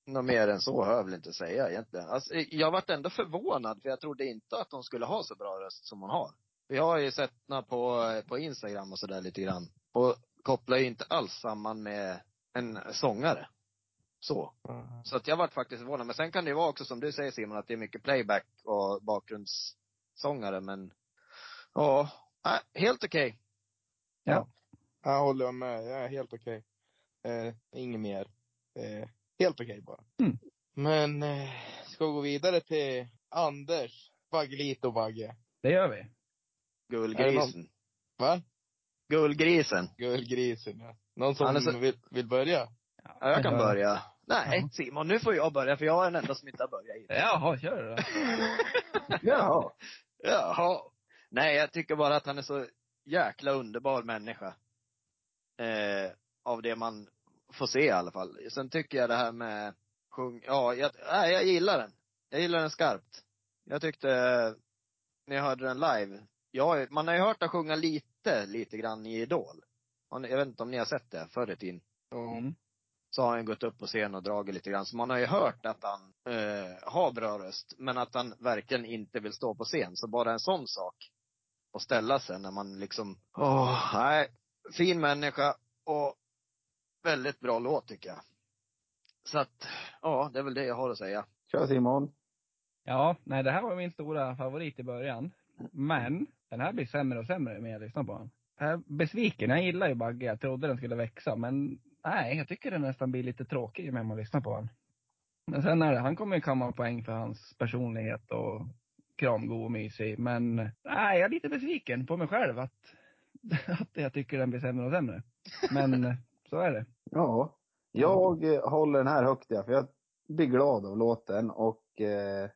Speaker 2: något mer än så hör jag väl inte säga egentligen. Alltså, jag vart ändå förvånad för jag trodde inte att hon skulle ha så bra röst som hon har. Jag har ju sett henne på, på Instagram och sådär lite grann. Och kopplar ju inte alls samman med en sångare. Så. Så att jag vart faktiskt förvånad. Men sen kan det ju vara också som du säger Simon, att det är mycket playback och bakgrundssångare. Men ja, nej, helt okej.
Speaker 1: Jag håller med. Jag är helt okej. Eh, inget mer. Eh, helt okej bara.
Speaker 4: Mm.
Speaker 1: Men, eh, ska vi gå vidare till Anders Baggelito Bagge.
Speaker 4: Det gör vi.
Speaker 1: Är det
Speaker 2: Gullgrisen.
Speaker 1: Va?
Speaker 2: Gullgrisen.
Speaker 1: Guldgrisen, ja. Någon som
Speaker 2: Han är så-
Speaker 1: vill, vill börja?
Speaker 2: Ja, jag kan
Speaker 4: Ja.
Speaker 2: börja.
Speaker 4: Ja.
Speaker 2: Nej, Simon, nu får jag börja för jag
Speaker 1: [laughs]
Speaker 2: är den enda som inte har börjat. i.
Speaker 4: Jaha, kör du då.
Speaker 3: Jaha.
Speaker 2: Jaha. Nej, jag tycker bara att han är så jäkla underbar människa. Eh, av det man får se i alla fall. Sen tycker jag det här med sjung, ja, jag, nej, jag gillar den. Jag gillar den skarpt. Jag tyckte, eh, när jag hörde den live, ja, man har ju hört han sjunga lite, lite grann i Idol. Har ni- Jag vet inte om ni har sett det förr i tiden
Speaker 1: Ja.
Speaker 4: Mm.
Speaker 2: så har han gått upp på scen och dragit lite grann. Så man har ju hört att han eh, har bra röst, men att han verkligen inte vill stå på scen. Så bara en sån sak att ställa sig när man liksom, åh, nej. Fin människa och väldigt bra låt tycker jag. Så att, ja, det är väl det jag har att säga.
Speaker 3: Kör Simon.
Speaker 4: Ja, nej det här var min stora favorit i början. Men den här blir sämre och sämre ju mer jag lyssnar på den. Jag är besviken. Jag gillar ju Bagge. Jag trodde den skulle växa. Men nej, jag tycker den nästan blir lite tråkig ju mer man lyssnar på den. Men sen är det, han kommer ju kamma poäng för hans personlighet och kramgod och mysig. Men nej, jag är lite besviken på mig själv att, [laughs] att jag tycker den blir sämre och sämre. Men så är det.
Speaker 3: Ja. Jag eh, håller den här högt ja, för jag blir glad av låten och eh,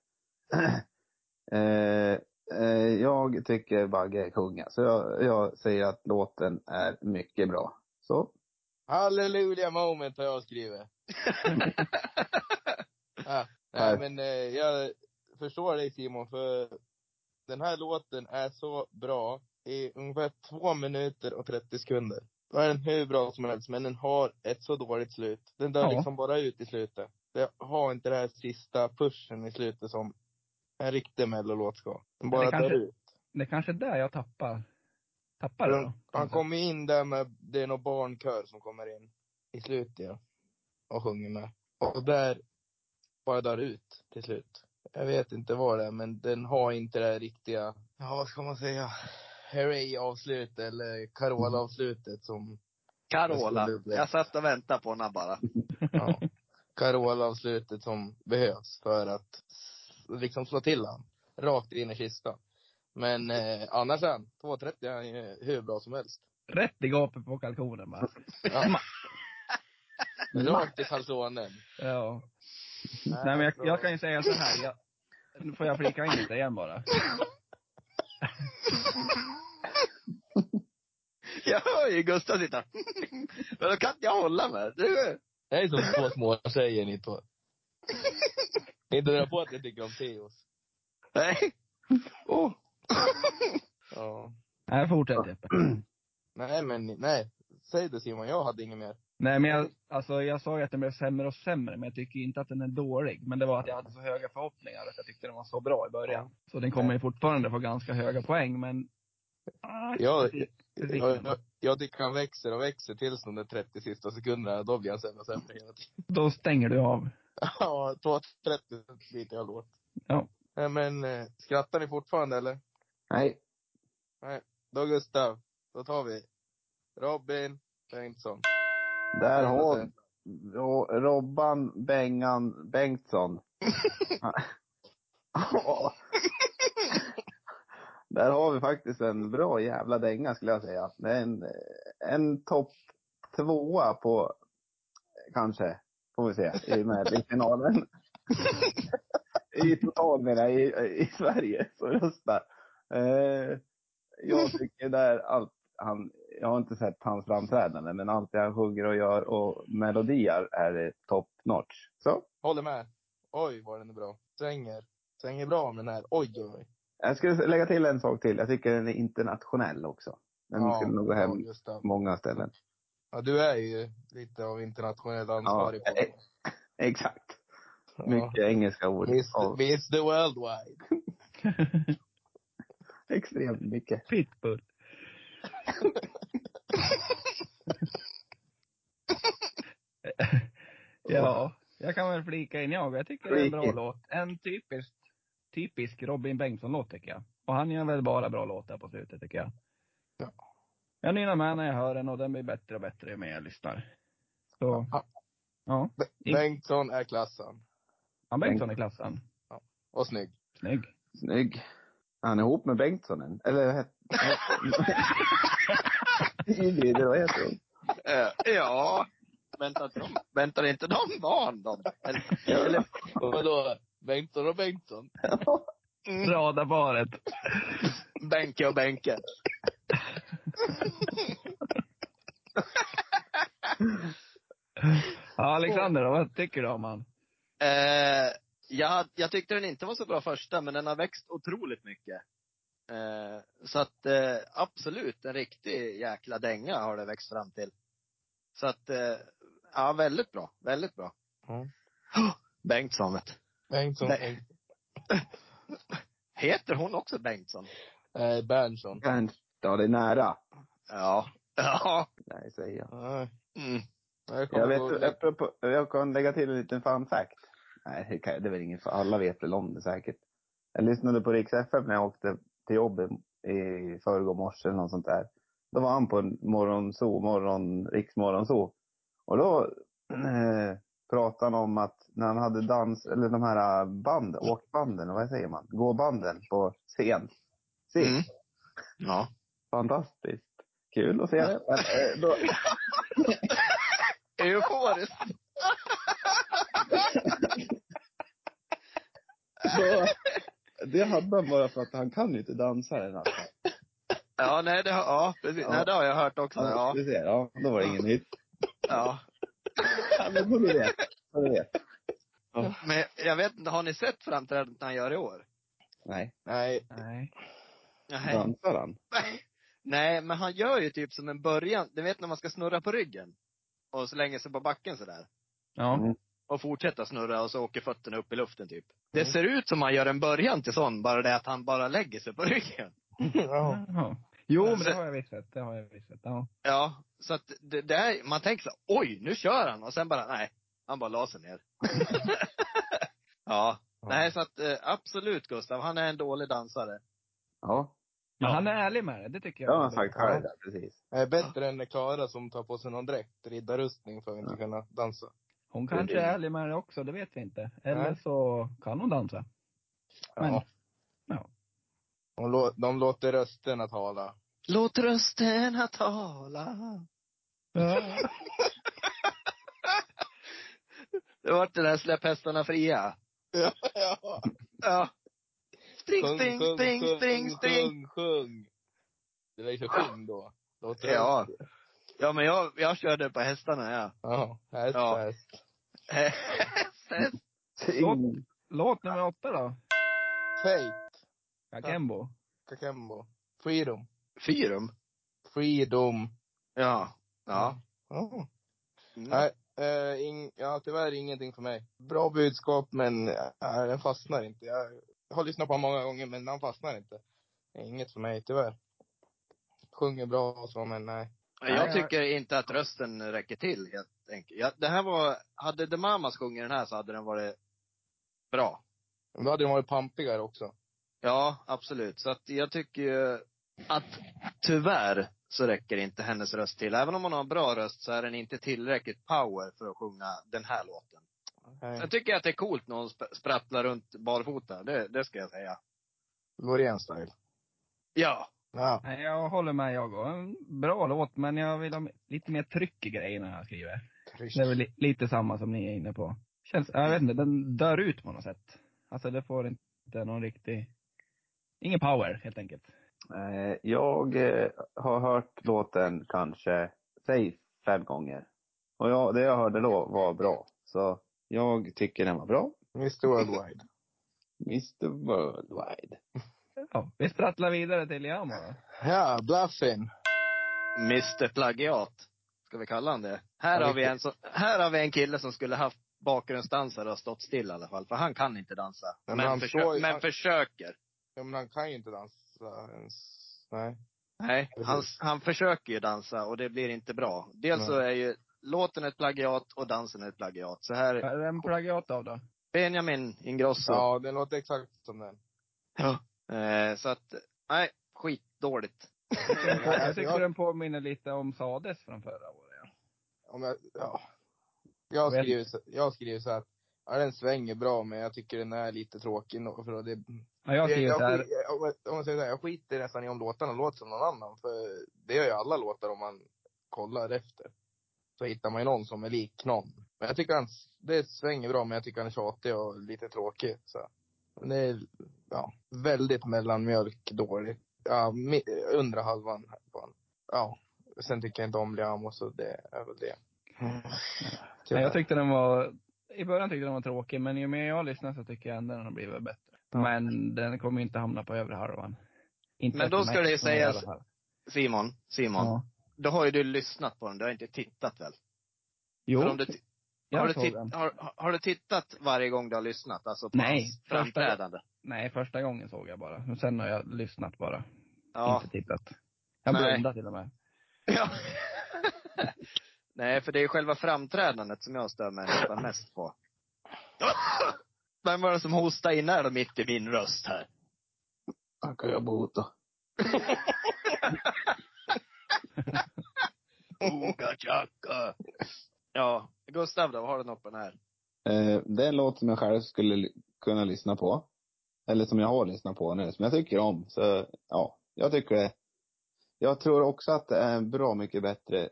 Speaker 3: [clears throat] eh, eh, jag tycker Bagge är kung. Så jag, jag säger att låten är mycket bra. Så.
Speaker 1: Halleluja moment har jag
Speaker 4: [laughs]
Speaker 1: skrivit. ah, nej,
Speaker 3: Nej.
Speaker 1: men eh, jag förstår dig Simon, för den här låten är så bra i ungefär två minuter och 30 sekunder. Då är den hur bra som helst, men den har ett så dåligt slut. Den dör
Speaker 4: Ja.
Speaker 1: liksom bara ut i slutet. Det har inte den här sista pushen i slutet som en riktig mellolåt ska. Den bara
Speaker 4: det kanske-
Speaker 1: dör ut.
Speaker 4: Det är kanske är där jag tappar, tappar det då.
Speaker 1: Han kommer in där med, det är någon barnkör som kommer in i slutet ja, och sjunger med. Och där bara dör ut till slut. Jag vet inte vad det är, men den har inte det här riktiga, ja vad ska man säga, Hurray-avslut eller Carola-avslutet som,
Speaker 2: Carola.
Speaker 1: Jag skulle bli-
Speaker 2: Jag satt och väntade på henne bara. [laughs]
Speaker 1: [laughs] ja, Carola-avslutet som behövs för att s- liksom slå till han. Rakt in i kistan. Men eh, annars är han, 2.30 är han ju hur bra som helst.
Speaker 4: Rätt i gapet på kalkonen bara.
Speaker 1: Ja. Rakt i kalsonen.
Speaker 4: Ja. Nej men jag, jag kan ju säga så här. Jag, nu får jag flika in lite igen bara.
Speaker 2: Jag hör ju Gustav sitta. [laughs] Men då kan inte jag hålla mig. Du,
Speaker 1: Jag är som två små tjejer ni två. Inte dra på att jag tycker om Theos.
Speaker 2: nej. Åh.
Speaker 1: Ja.
Speaker 4: Nej fortsätt Jeppe.
Speaker 1: Nej men, nej. Säg det Simon, jag hade inget mer.
Speaker 4: Nej men jag, alltså jag sa ju att den blev sämre och sämre. Men jag tycker inte att den är dålig. Men det var att jag hade så höga förhoppningar. Att jag tyckte den var så bra i början. Så den kommer ju fortfarande få ganska höga poäng men. Ah,
Speaker 1: Ja,
Speaker 4: precis. Precis.
Speaker 1: Jag, jag, jag tycker han växer och växer tills de där 30 sista sekunderna, då blir han sämre och sämre hela tiden.
Speaker 4: Då stänger du av.
Speaker 1: [laughs] Ja, 2.30 byter jag låt.
Speaker 4: Ja.
Speaker 1: Nej men, eh, skrattar ni fortfarande eller?
Speaker 3: Nej.
Speaker 1: Då Gustav, då tar vi Robin Bengtsson.
Speaker 3: Där har Ro- Robban Bengan Bengtsson. Ja. Där har vi faktiskt en bra jävla dänga skulle jag säga. Det är en, en topp tvåa på, kanske, får vi se, i Melodifestivalen. I total menar jag, i, i Sverige, så röstar. Eh, jag tycker där allt han, jag har inte sett hans framträdande, men allt det han sjunger och gör och melodier är top notch. Så,
Speaker 1: Håller med. Oj, vad den är bra. Svänger. Svänger bra om den här. Oj, oj, oj.
Speaker 3: jag ska lägga till en sak till. Jag tycker den är internationell också. Den
Speaker 1: Ja,
Speaker 3: skulle nog gå hem
Speaker 1: ja,
Speaker 3: på
Speaker 1: just det.
Speaker 3: många ställen.
Speaker 1: Ja, du är ju lite av internationell ansvarig
Speaker 3: Ja,
Speaker 1: på det.
Speaker 3: Exakt.
Speaker 1: Ja.
Speaker 3: Mycket engelska ord.
Speaker 1: Miss,
Speaker 3: Ja,
Speaker 1: miss the worldwide.
Speaker 3: extremt mycket.
Speaker 4: Pitbull. [laughs] ja, jag kan väl flika in jag. Jag tycker det är en bra
Speaker 3: Flika in.
Speaker 4: låt. En typisk, typisk Robin Bengtsson-låt tycker jag. Och han gör väl bara bra låtar på slutet tycker jag.
Speaker 1: Ja.
Speaker 4: Jag nynnar med när jag hör den och den blir bättre och bättre ju mer jag lyssnar. Så,
Speaker 1: Ja.
Speaker 4: ja.
Speaker 1: Be- Bengtsson är klassen.
Speaker 4: Han Bengtsson i klassen.
Speaker 1: Och snygg.
Speaker 4: Snygg.
Speaker 3: Snygg. Han är ihop med Bengtsson än. Eller vad heter [laughs] Ingrid, eller vad heter hon?
Speaker 2: Eh, ja. Väntar, inte de, väntar inte de barn de? Eller, eller,
Speaker 1: Och vadå? Bengtsson och Bengtsson?
Speaker 4: Radabaret.
Speaker 2: Benke och Benke.
Speaker 4: Ja, Alexander då, vad tycker du om han?
Speaker 2: Eh, jag, jag tyckte den inte var så bra första, men den har växt otroligt mycket. Eh, så att eh, absolut, en riktig jäkla dänga har det växt fram till. Så att, eh, ja väldigt bra, väldigt bra.
Speaker 1: Mm.
Speaker 2: [gasps] Bengtsson vet du.
Speaker 1: Bengtsson.
Speaker 2: Nej. Heter hon också Bengtsson?
Speaker 1: Nej, eh, Berntsson.
Speaker 3: Ernst, Ja, det är nära.
Speaker 2: Ja. [laughs] Ja.
Speaker 3: Nej, säger jag.
Speaker 1: Nej.
Speaker 2: Mm.
Speaker 1: Jag
Speaker 3: Jag,
Speaker 1: kommer
Speaker 3: vet,
Speaker 1: vet,
Speaker 3: apropå, jag kan lägga till en liten fun fact. Nej, det, kan, det är väl ingen för alla vet väl om det säkert. Jag lyssnade på Rix FM när jag åkte till jobbet i förrgår morse eller något sånt där. Då var han på en morgonzoo, morgon, riksmorgonzoo. Och då eh, pratade han om att när han hade dans, eller de här eh, band, åkbanden, vad säger man, gåbanden på scen. Sist.
Speaker 2: Mm. Ja.
Speaker 3: Fantastiskt. Kul att se det. Men, eh, då,
Speaker 2: Euforiskt.
Speaker 3: Så, det hade han bara för att han kan ju inte dansa den här.
Speaker 2: Ja, nej det har, ja, precis.
Speaker 3: Ja.
Speaker 2: Nej, det har jag hört också.
Speaker 3: Ja.
Speaker 2: Ja.
Speaker 3: Alltså, Du ser, ja, då var det ingen nytt.
Speaker 2: ja.
Speaker 3: Ja, men får du vet. Får du vet.
Speaker 2: Men jag vet inte, har ni sett framträdandet han gör i år?
Speaker 3: Nej,
Speaker 1: Nej.
Speaker 4: Nej.
Speaker 2: Nej.
Speaker 3: dansar han?
Speaker 2: Nej, men han gör ju typ som en början. Du vet när man ska snurra på ryggen? Och slänger sig på backen sådär.
Speaker 4: Ja.
Speaker 2: Och fortsätta snurra och så åker fötterna upp i luften typ. Det
Speaker 1: Mm.
Speaker 2: ser ut som han gör en början till sån, bara det att han bara lägger sig på ryggen.
Speaker 1: ja.
Speaker 4: Jaha. Jo, men det har jag visst sett. Det har jag visst sett. Ja.
Speaker 2: Ja, så att det där, man tänker så här, oj, nu kör han. Och sen bara, nej, han bara la sig [laughs] ner. ja. Nej, så att eh, absolut Gustav, han är en dålig dansare.
Speaker 3: Ja,
Speaker 4: Men
Speaker 2: Ja.
Speaker 4: han är ärlig med det. Det tycker
Speaker 3: det
Speaker 4: jag.
Speaker 3: har han sagt själv. där, Precis.
Speaker 1: Det är Eh, bättre än Klara som tar på sig någon dräkt, riddarrustning, för att inte kunna dansa.
Speaker 4: Hon kanske är ärlig med det också, det vet vi inte. Eller
Speaker 1: Nej.
Speaker 4: så kan hon dansa. Men,
Speaker 1: Ja.
Speaker 4: ja.
Speaker 1: De, lå- de låter rösterna tala.
Speaker 2: Låt rösterna tala. Det vart det där släpp hästarna fria.
Speaker 1: Ja.
Speaker 2: Ja. Spring,
Speaker 1: Sjung,
Speaker 2: spring,
Speaker 1: sjung,
Speaker 2: spring,
Speaker 1: sjung,
Speaker 2: spring,
Speaker 1: Sjung,
Speaker 2: spring.
Speaker 1: sjung. Det är liksom sjung då. Låter
Speaker 2: Ja.
Speaker 1: det?
Speaker 2: Ja, men jag, jag körde på hästarna, ja.
Speaker 1: Ja. Häst,
Speaker 2: Ja.
Speaker 1: häst.
Speaker 2: Häst, häst.
Speaker 4: Låt, [laughs] låt nummer åtta då.
Speaker 1: Fate.
Speaker 4: Kakembo.
Speaker 1: Kakembo. Freedom.
Speaker 2: [laughs] Fyrum?
Speaker 1: Freedom.
Speaker 2: Ja. Ja.
Speaker 1: Ja.
Speaker 2: Mm.
Speaker 1: Nej, eh, ing, ja, tyvärr ingenting för mig. Bra budskap, men eh, den fastnar inte. Jag har lyssnat på honom många gånger, men han fastnar inte. Det är Inget för mig, tyvärr. Sjunger bra och så, men nej.
Speaker 2: Jag tycker inte att rösten räcker till helt enkelt. Ja, det här var, hade The Mamas sjungit den här så hade den varit bra.
Speaker 1: Men Då hade de varit pampigare också.
Speaker 2: Ja, absolut. Så att jag tycker ju att tyvärr så räcker inte hennes röst till. Även om hon har en bra röst så är den inte tillräckligt power för att sjunga den här låten.
Speaker 1: Nej.
Speaker 2: Sen tycker jag att det är coolt när hon sp- sprattlar runt barfota. Det, det ska jag säga.
Speaker 1: Loreen-style.
Speaker 2: Ja.
Speaker 1: Ja.
Speaker 4: Nej, jag håller med jag och. En bra låt, men jag vill ha lite mer tryck i grejerna när jag skriver. Det är väl li- lite samma som ni är inne på. Känns, jag vet inte, den dör ut på något sätt. Alltså det får inte någon riktig, ingen power helt enkelt.
Speaker 3: Eh, Jag eh, har hört låten kanske, säg fem gånger. Och jag, det jag hörde då var bra. Så jag tycker den var bra.
Speaker 1: Mr Worldwide.
Speaker 3: Mr Worldwide.
Speaker 4: Ja, vi sprattlar vidare till Yama då.
Speaker 1: Ja, Bluffin.
Speaker 2: Mr Plagiat. Ska vi kalla han det? Här
Speaker 1: Ja,
Speaker 2: har vi
Speaker 1: riktigt.
Speaker 2: en, som, här har vi en kille som skulle haft bakgrundsdansare och stått still i alla fall. För han kan inte dansa.
Speaker 1: Men
Speaker 2: Men,
Speaker 1: han
Speaker 2: försö-
Speaker 1: står ju-
Speaker 2: men
Speaker 1: han-
Speaker 2: försöker.
Speaker 1: Ja, men han kan ju inte dansa ens. Nej.
Speaker 2: Nej, han,
Speaker 1: Precis.
Speaker 2: han försöker ju dansa och det blir inte bra. Dels så är ju låten ett plagiat och dansen ett plagiat. Så här,
Speaker 4: Vad är den plagiat av då?
Speaker 2: Benjamin Ingrosso.
Speaker 1: Ja, den låter exakt som den.
Speaker 2: Eh, så att, nej, skitdåligt.
Speaker 4: Jag tycker
Speaker 1: jag,
Speaker 4: den påminner lite om Sades från förra året. ja.
Speaker 1: om jag, ja. jag,
Speaker 4: Vet-
Speaker 1: skriver, så- jag skriver så här. Ja, den svänger bra, men jag tycker den är lite tråkig. nå- För det,
Speaker 4: Ja, jag
Speaker 1: jag,
Speaker 4: skriver
Speaker 1: jag,
Speaker 4: så här.
Speaker 1: skit- om jag- om man säger så här, jag skiter nästan i om låtarna låter som någon annan. För det gör ju alla låtar om man kollar efter. Så hittar man ju någon som är lik någon. Men jag tycker han, s- det svänger bra, men jag tycker han är tjatig och lite tråkig. Så. Men det är, ja, väldigt mellanmjölk dåligt. ja, mi- undre halvan. Ja. Sen tycker jag inte om Liam och så det är väl det.
Speaker 4: Nej, jag tyckte den var, i början tyckte jag den var tråkig, men ju mer jag lyssnar så tycker jag ändå den har blivit bättre. Men den kommer ju inte hamna på övre halvan. Inte
Speaker 2: Men då
Speaker 4: för
Speaker 2: ska
Speaker 4: mig,
Speaker 2: det ju
Speaker 4: men i
Speaker 2: sägas-
Speaker 4: alla fall.
Speaker 2: Simon, Simon.
Speaker 4: Ja.
Speaker 2: Då har ju du lyssnat på den, du har inte tittat väl?
Speaker 4: Jo,
Speaker 2: För om du, ti-
Speaker 4: jag
Speaker 2: har, du
Speaker 4: såg
Speaker 2: tit,
Speaker 4: den.
Speaker 2: har, har du tittat varje gång du har lyssnat? Alltså på
Speaker 4: Nej,
Speaker 2: hans
Speaker 4: första-
Speaker 2: framträdande?
Speaker 4: Nej, första gången såg jag bara. Men Sen har jag lyssnat bara.
Speaker 2: Ja.
Speaker 4: Inte tittat. Jag
Speaker 2: Nej.
Speaker 4: blundade till och med.
Speaker 2: ja. [laughs] Nej, för det är själva framträdandet som jag stör mig nästan mest på. Vem var det som hostade in här då mitt i min röst här?
Speaker 3: Han kan jag
Speaker 2: [laughs]
Speaker 3: bota.
Speaker 2: Oga tjacka. Ja, Gustav då, vad har du något på den här?
Speaker 3: Eh, det är en låt som jag själv skulle li- kunna lyssna på. Eller som jag har lyssnat på nu, som jag tycker om. Så ja, jag tycker det. Jag tror också att det är en bra mycket bättre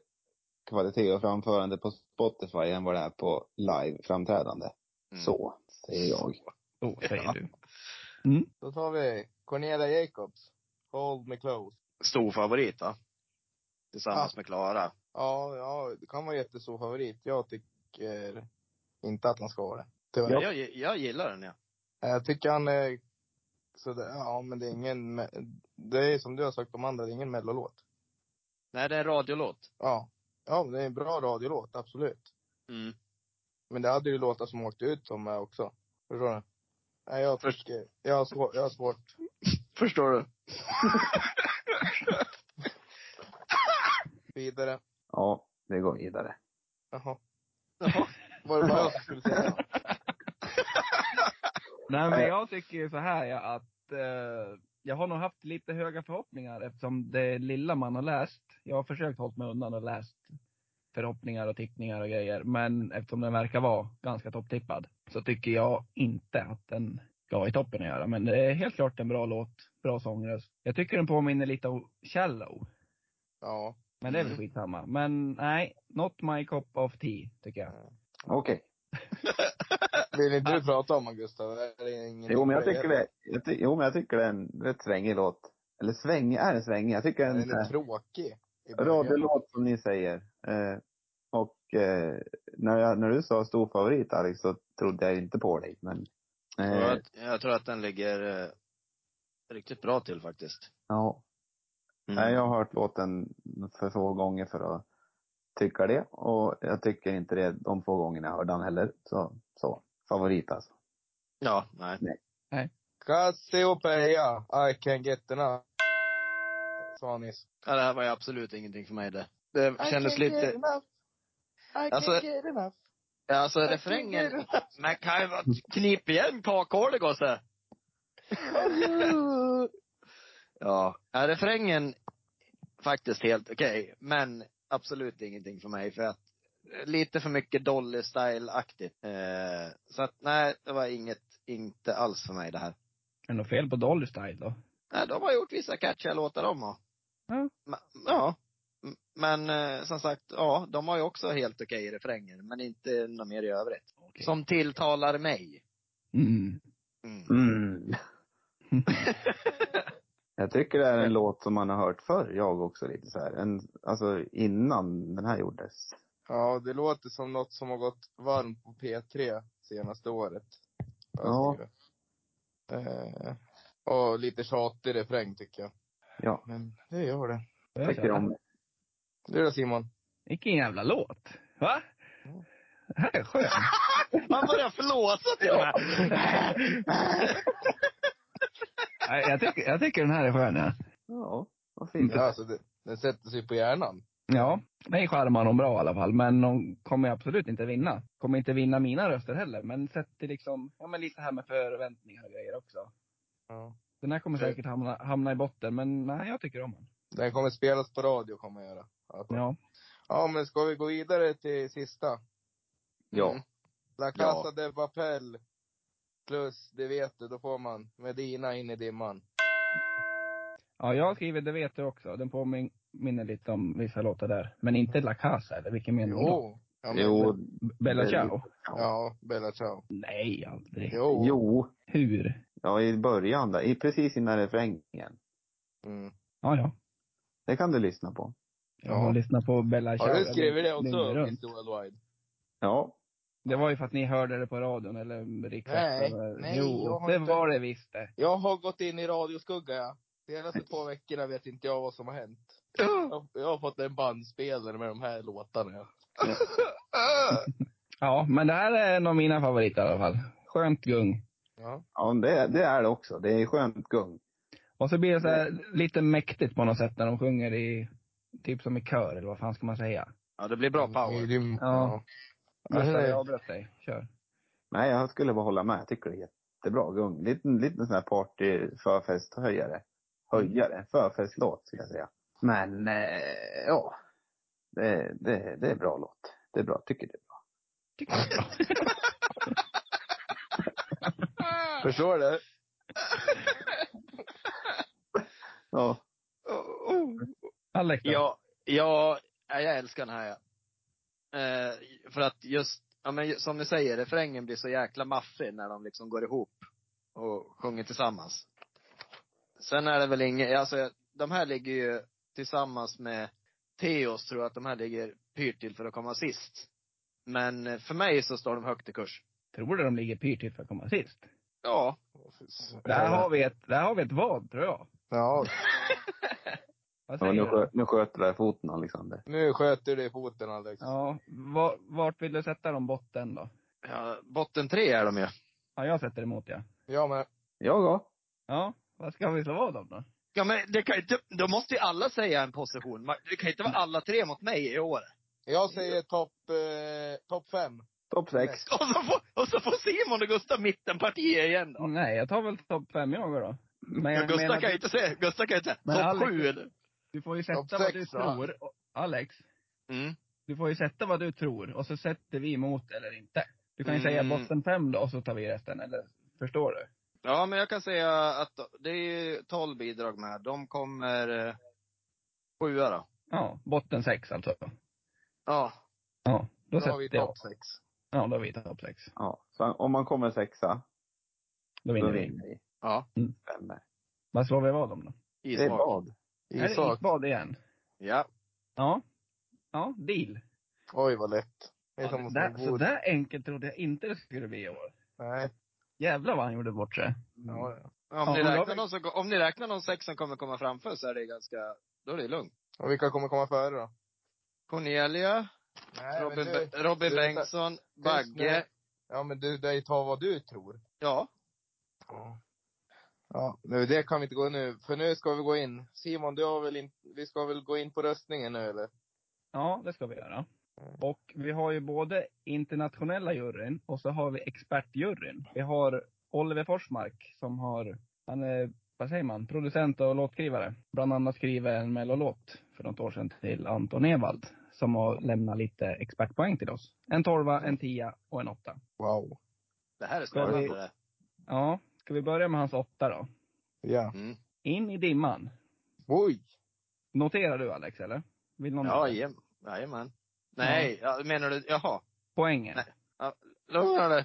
Speaker 3: kvalitet och framförande på Spotify än vad det är på live-framträdande.
Speaker 2: Mm.
Speaker 3: Så, säger jag.
Speaker 4: Oh, säger
Speaker 2: Ja.
Speaker 4: du.
Speaker 1: Då tar vi Cornelia Jacobs, Hold Me Close.
Speaker 2: Stor favorit va? Tillsammans
Speaker 1: Ja.
Speaker 2: med Klara.
Speaker 1: Ja, ja, det kan vara jättestor favorit. Jag tycker inte att han ska ha det. Tyvärr.
Speaker 2: Ja. Jag, jag gillar den ja.
Speaker 1: Jag tycker han är sådär, ja men det är ingen, me- det är som du har sagt om andra, det är ingen mellolåt.
Speaker 2: Nej, det är en radiolåt.
Speaker 1: Ja. Ja, men det är en bra radiolåt, absolut.
Speaker 2: Mm.
Speaker 1: Men det hade ju låtar som åkte ut som är också. Förstår du? Nej, jag
Speaker 2: Först-
Speaker 1: tycker, jag har svårt, jag har svårt.
Speaker 2: Förstår du?
Speaker 1: Vidare.
Speaker 3: Ja, det går vidare.
Speaker 1: Jaha.
Speaker 2: Ja.
Speaker 1: Var det bara jag som skulle säga?
Speaker 4: Nej, men jag tycker ju så här ja, att eh, jag har nog haft lite höga förhoppningar eftersom det lilla man har läst, jag har försökt hålla mig undan och läst förhoppningar och tippningar och grejer, men eftersom den verkar vara ganska topptippad så tycker jag inte att den ska vara i toppen att göra. Men det är helt klart en bra låt, bra sångröst. Jag tycker den påminner lite om Shallow,
Speaker 1: Ja.
Speaker 4: men det är väl
Speaker 2: Mm.
Speaker 4: skitsamma. Men nej, not my cup of tea, tycker jag.
Speaker 3: Okej.
Speaker 1: Vill inte du prata om Augusta? Är det ingen
Speaker 3: Jo, men jag tycker det, jag ty, jo, men jag tycker det är en rätt svängig låt. Eller svängig, är den svängig? Jag tycker den
Speaker 1: Den
Speaker 3: är
Speaker 1: är tråkig. i början.
Speaker 3: Radiolåt som ni säger. Eh, och eh, när, jag, när du sa stor favorit Alex så trodde jag inte på dig. Men, eh,
Speaker 2: Jag, jag tror att den ligger eh, riktigt bra till faktiskt.
Speaker 3: ja.
Speaker 2: Mm.
Speaker 3: Nej, jag har hört låten för få gånger för att tycka det. Och jag tycker inte det de få gångerna jag hörde den heller. Så, så. Favorit alltså.
Speaker 2: Ja, nej.
Speaker 1: Cassiopeia, I can get enough. Sa han nyss.
Speaker 2: Ja, det här var ju absolut ingenting för mig det. Det kändes lite, Alltså-
Speaker 1: Alltså, get enough.
Speaker 2: ja, alltså
Speaker 1: I can't
Speaker 2: refrängen.
Speaker 1: get enough
Speaker 2: Men kan ju vara- knip igen
Speaker 3: [laughs]
Speaker 2: kakhålet gosse.
Speaker 1: of you.
Speaker 2: Ja, ja, refrängen faktiskt helt okej, men absolut ingenting för mig för att eh, lite för mycket Dolly Style-aktigt. Eh, så att nej, det var inget, inte alls för mig det här.
Speaker 4: Är det något fel på Dolly Style då?
Speaker 2: Nej, de har gjort vissa catchiga låtar de har.
Speaker 4: Ja.
Speaker 2: Ma- ja. M- Men eh, som sagt, ja, de har ju också helt okej refränger, men inte något mer i övrigt.
Speaker 4: Okej.
Speaker 2: Som tilltalar mig.
Speaker 4: Mm.
Speaker 2: Mm.
Speaker 3: Mm. [laughs] Jag tycker det är en låt som man har hört förr, jag också lite så här. En, alltså innan den här gjordes.
Speaker 1: Ja, det låter som något som har gått varmt på P3 senaste året.
Speaker 3: Ja.
Speaker 1: Eh, och lite tjatig refräng tycker jag.
Speaker 3: Ja,
Speaker 1: Men det gör det.
Speaker 4: Får jag
Speaker 3: tycker
Speaker 4: köra?
Speaker 3: om
Speaker 1: Du då Simon?
Speaker 4: Vilken jävla låt! Va?
Speaker 1: Ja.
Speaker 4: Det här är skönt.
Speaker 2: Man börjar flåsa till och med.
Speaker 4: [laughs] Nej, jag, tycker, jag tycker den här är skön. Ja,
Speaker 3: Ja, vad fint.
Speaker 1: Ja, alltså, det, den sätter sig på hjärnan.
Speaker 4: ja den charmar hon bra i alla fall. Men hon kommer absolut inte vinna. Kommer inte vinna mina röster heller. Men sett till liksom, ja men lite här med förväntningar och grejer också.
Speaker 1: Ja.
Speaker 4: Den här
Speaker 1: Mm.
Speaker 4: kommer säkert hamna, hamna i botten, men nej, jag tycker om den.
Speaker 1: Den kommer spelas på radio kommer jag göra. Ja.
Speaker 4: Ja.
Speaker 1: ja, men ska vi gå vidare till sista?
Speaker 3: Ja.
Speaker 2: Mm.
Speaker 1: La Casa
Speaker 2: Ja.
Speaker 1: de Papel. Plus, det vet du, då får man Medina in i dimman.
Speaker 4: Ja, jag skriver Det vet du också. Den påminner lite om vissa låtar där. Men inte La Casa, eller vilken menar du då?
Speaker 1: Jo. Ja, men,
Speaker 3: Jo,
Speaker 4: Bella
Speaker 3: det-
Speaker 4: Ciao?
Speaker 1: Ja, Bella Ciao.
Speaker 4: Nej, aldrig.
Speaker 1: Jo.
Speaker 3: jo.
Speaker 4: Hur?
Speaker 3: Ja, i början där. I, precis innan refrängen.
Speaker 1: Mm.
Speaker 4: Ja, ja.
Speaker 3: Det kan du lyssna på.
Speaker 4: Jag har lyssnat på Bella
Speaker 1: Har du
Speaker 4: Ciao
Speaker 1: skrivit det också,
Speaker 4: dygnet runt.
Speaker 1: Mr Worldwide?
Speaker 3: Ja.
Speaker 4: Det var ju för att ni hörde det på radion eller riksdagen.
Speaker 1: Nej,
Speaker 4: eller-
Speaker 1: nej, jag
Speaker 4: Jo,
Speaker 1: har
Speaker 4: det
Speaker 1: inte-
Speaker 4: var det visst det.
Speaker 1: Jag har gått in i radioskugga, ja. De senaste två veckorna vet inte jag vad som har hänt. Jag, jag har fått en bandspelare med de här låtarna. ja.
Speaker 4: Ja, men det här är en av mina favoriter i alla fall. Skönt gung.
Speaker 1: Ja.
Speaker 3: Ja, men det, det är det också. Det är skönt gung.
Speaker 4: Och så blir det så här lite mäktigt på något sätt när de sjunger i, typ som i kör eller vad fan ska man säga?
Speaker 2: Ja, det blir bra power.
Speaker 1: Ja.
Speaker 4: Ja.
Speaker 1: Mm. Ja,
Speaker 4: Gustav,
Speaker 1: det-
Speaker 4: jag avbröt dig. Kör.
Speaker 3: Nej, jag skulle bara hålla med. Jag tycker det är jättebra gung. Liten, liten sån här party förfesthöjare. Höjare. Förfestlåt ska jag säga. Men eh, ja. Det, det, det är bra låt. Det är bra. Tycker det.
Speaker 1: Förstår
Speaker 2: [laughs]
Speaker 1: du?
Speaker 3: Ja.
Speaker 2: Oh,
Speaker 4: Alex då?
Speaker 2: Ja, ja, ja, jag älskar den här. ja. Eh, för att just, ja, men ju- som du säger, refrängen blir så jäkla maffig när de liksom går ihop och sjunger tillsammans. Sen är det väl inget, alltså jag- de här ligger ju tillsammans med Theos tror jag att de här ligger pyrt till för att komma sist. Men eh, för mig så står de högt i kurs.
Speaker 4: Tror du de ligger pyrt till för att komma sist?
Speaker 2: Ja.
Speaker 4: Där har vi ett, där har vi ett vad tror jag.
Speaker 1: Ja,
Speaker 4: Vad
Speaker 3: ja
Speaker 4: säger
Speaker 3: nu,
Speaker 4: du?
Speaker 3: skö, nu sköter du dig foten Alexander.
Speaker 1: nu sköter du dig i foten Alex.
Speaker 4: Ja, var, vart vill du sätta dem botten då?
Speaker 2: ja botten tre är de ju.
Speaker 4: Ja, jag sätter emot ja.
Speaker 1: Jag med.
Speaker 3: Jag ja.
Speaker 4: Ja, vad ska vi slå vad om då?
Speaker 2: Ja men det kan ju inte, då måste ju alla säga en position. Man- Det kan ju inte vara alla tre mot mig i år.
Speaker 1: Jag säger topp, eh, topp fem.
Speaker 3: Topp sex.
Speaker 2: Och så, får, och så får Simon och Gustav mittenpartier igen då.
Speaker 4: Nej, jag tar väl topp fem jag då. Men
Speaker 2: Men
Speaker 4: jag
Speaker 2: Gustav
Speaker 4: menar,
Speaker 2: kan ju
Speaker 4: du,
Speaker 2: inte säga, Gustav kan ju inte
Speaker 4: Men
Speaker 2: säga topp
Speaker 4: Alex-
Speaker 2: sju eller?
Speaker 4: du får ju sätta
Speaker 1: Topp
Speaker 4: vad
Speaker 1: sex
Speaker 4: du
Speaker 1: då.
Speaker 4: tror. Och- Alex,
Speaker 2: Mm.
Speaker 4: du får ju sätta vad du tror och så sätter vi emot eller inte. Du kan ju säga
Speaker 2: Mm.
Speaker 4: botten fem då och så tar vi resten, eller förstår du?
Speaker 2: Ja men jag kan säga att det är ju 12 bidrag med. De kommer eh, sjua då.
Speaker 4: Ja, botten sex alltså.
Speaker 2: Ja.
Speaker 4: Ja, då,
Speaker 1: Då
Speaker 4: sätter
Speaker 1: har vi
Speaker 4: jag.
Speaker 1: topp sex.
Speaker 4: Ja, då har vi topp sex.
Speaker 3: Ja. Så om man kommer sexa,
Speaker 4: Då
Speaker 3: då
Speaker 4: vinner vi.
Speaker 3: vinner vi.
Speaker 2: Ja.
Speaker 3: Fem där.
Speaker 4: Vad slår vi vad om då?
Speaker 3: Det är
Speaker 2: Ismak.
Speaker 3: bad.
Speaker 4: Är det
Speaker 1: Isak.
Speaker 4: isbad igen?
Speaker 2: Ja.
Speaker 4: Ja. Ja, deal.
Speaker 1: Oj vad lätt. Det är
Speaker 4: Ja,
Speaker 1: som
Speaker 4: det
Speaker 1: att
Speaker 4: där, Mm.
Speaker 1: slå
Speaker 4: så
Speaker 1: god.
Speaker 4: där enkelt trodde jag inte det skulle bli i år.
Speaker 1: Nej.
Speaker 4: Jävlar vad han gjorde bort sig.
Speaker 1: Ja, ja.
Speaker 2: Om, ni
Speaker 4: Ja, men då-
Speaker 2: räknar någon som, om ni räknar någon sex som kommer komma framför så är det ganska, då är det lugnt.
Speaker 1: Och vilka kommer komma före då?
Speaker 2: Cornelia,
Speaker 1: Nej,
Speaker 2: Robin,
Speaker 1: men nu,
Speaker 2: Be- Robin
Speaker 1: du-
Speaker 2: Bengtsson, Bagge.
Speaker 1: nu. ja men du, dig ta vad du tror.
Speaker 2: Ja.
Speaker 1: Ja. Ja, nu det kan vi inte gå nu, för nu ska vi gå in. Simon, du har väl in, vi ska väl gå in på röstningen nu eller?
Speaker 4: Ja, det ska vi göra. Och vi har ju både internationella juryn och så har vi expertjuryn. Vi har Oliver Forsmark som har, han är, vad säger man, producent och låtskrivare. Bland annat skriver en mellolåt för något år sedan till Anton Ewald som har lämnat lite expertpoäng till oss. En torva, en tia och en åtta.
Speaker 1: Wow.
Speaker 2: Det här är
Speaker 4: Ska vi-
Speaker 2: spännande det.
Speaker 4: Ja, ska vi börja med hans åtta då?
Speaker 1: Ja.
Speaker 2: Mm.
Speaker 4: In i dimman.
Speaker 1: Oj!
Speaker 4: Noterar du Alex, eller? Vill någon
Speaker 2: Ja, jajam- jajamän. Nej, ja, menar du, jaha.
Speaker 4: Poängen.
Speaker 2: Nej. Lugnar det?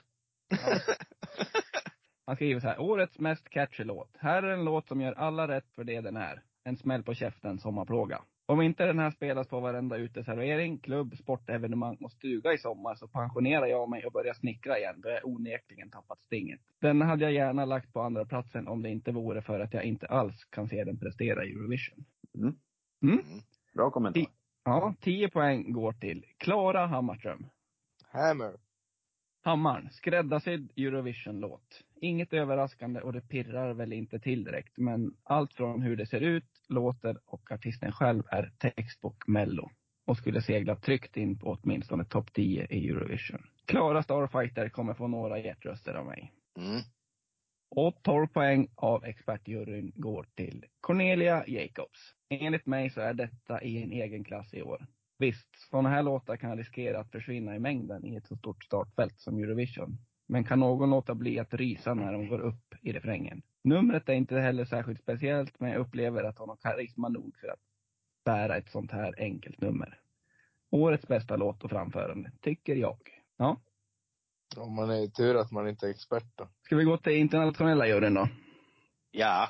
Speaker 4: Han skriver så här. Årets mest catchy låt. Här är en låt som gör alla rätt för det den är. En smäll på käften sommarplåga. Om inte den här spelas på varenda uteservering, klubb, sportevenemang och stuga i sommar så pensionerar jag mig och börjar snickra igen då jag onekligen tappat stinget. Den hade jag gärna lagt på andra platsen om det inte vore för att jag inte alls kan se den prestera i Eurovision.
Speaker 3: Bra kommentar.
Speaker 4: Ti- Ja, 10 poäng går till Klara Hammarström.
Speaker 1: Hammer.
Speaker 4: Hammarn, skräddarsydd Eurovision-låt. Inget överraskande och det pirrar väl inte till direkt, men allt från hur det ser ut, låter och artisten själv är textbok mello. Och skulle segla tryggt in på åtminstone topp 10 i Eurovision. Klara Starfighter kommer få några hjärtröster av mig.
Speaker 2: Mm.
Speaker 4: Och 12 poäng av expertjuryn går till Cornelia Jacobs. Enligt mig så är detta i en egen klass i år. Visst, sådana här låtar kan riskera att försvinna i mängden i ett så stort startfält som Eurovision. Men kan någon låta bli att rysa när de går upp i refrängen? Numret är inte heller särskilt speciellt, men jag upplever att hon har karisma nog för att bära ett sånt här enkelt nummer. Årets bästa låt och framförande, tycker jag. Ja,
Speaker 1: Om man är tur att man inte är expert då.
Speaker 4: ska vi gå till internationella juryn då?
Speaker 2: Ja.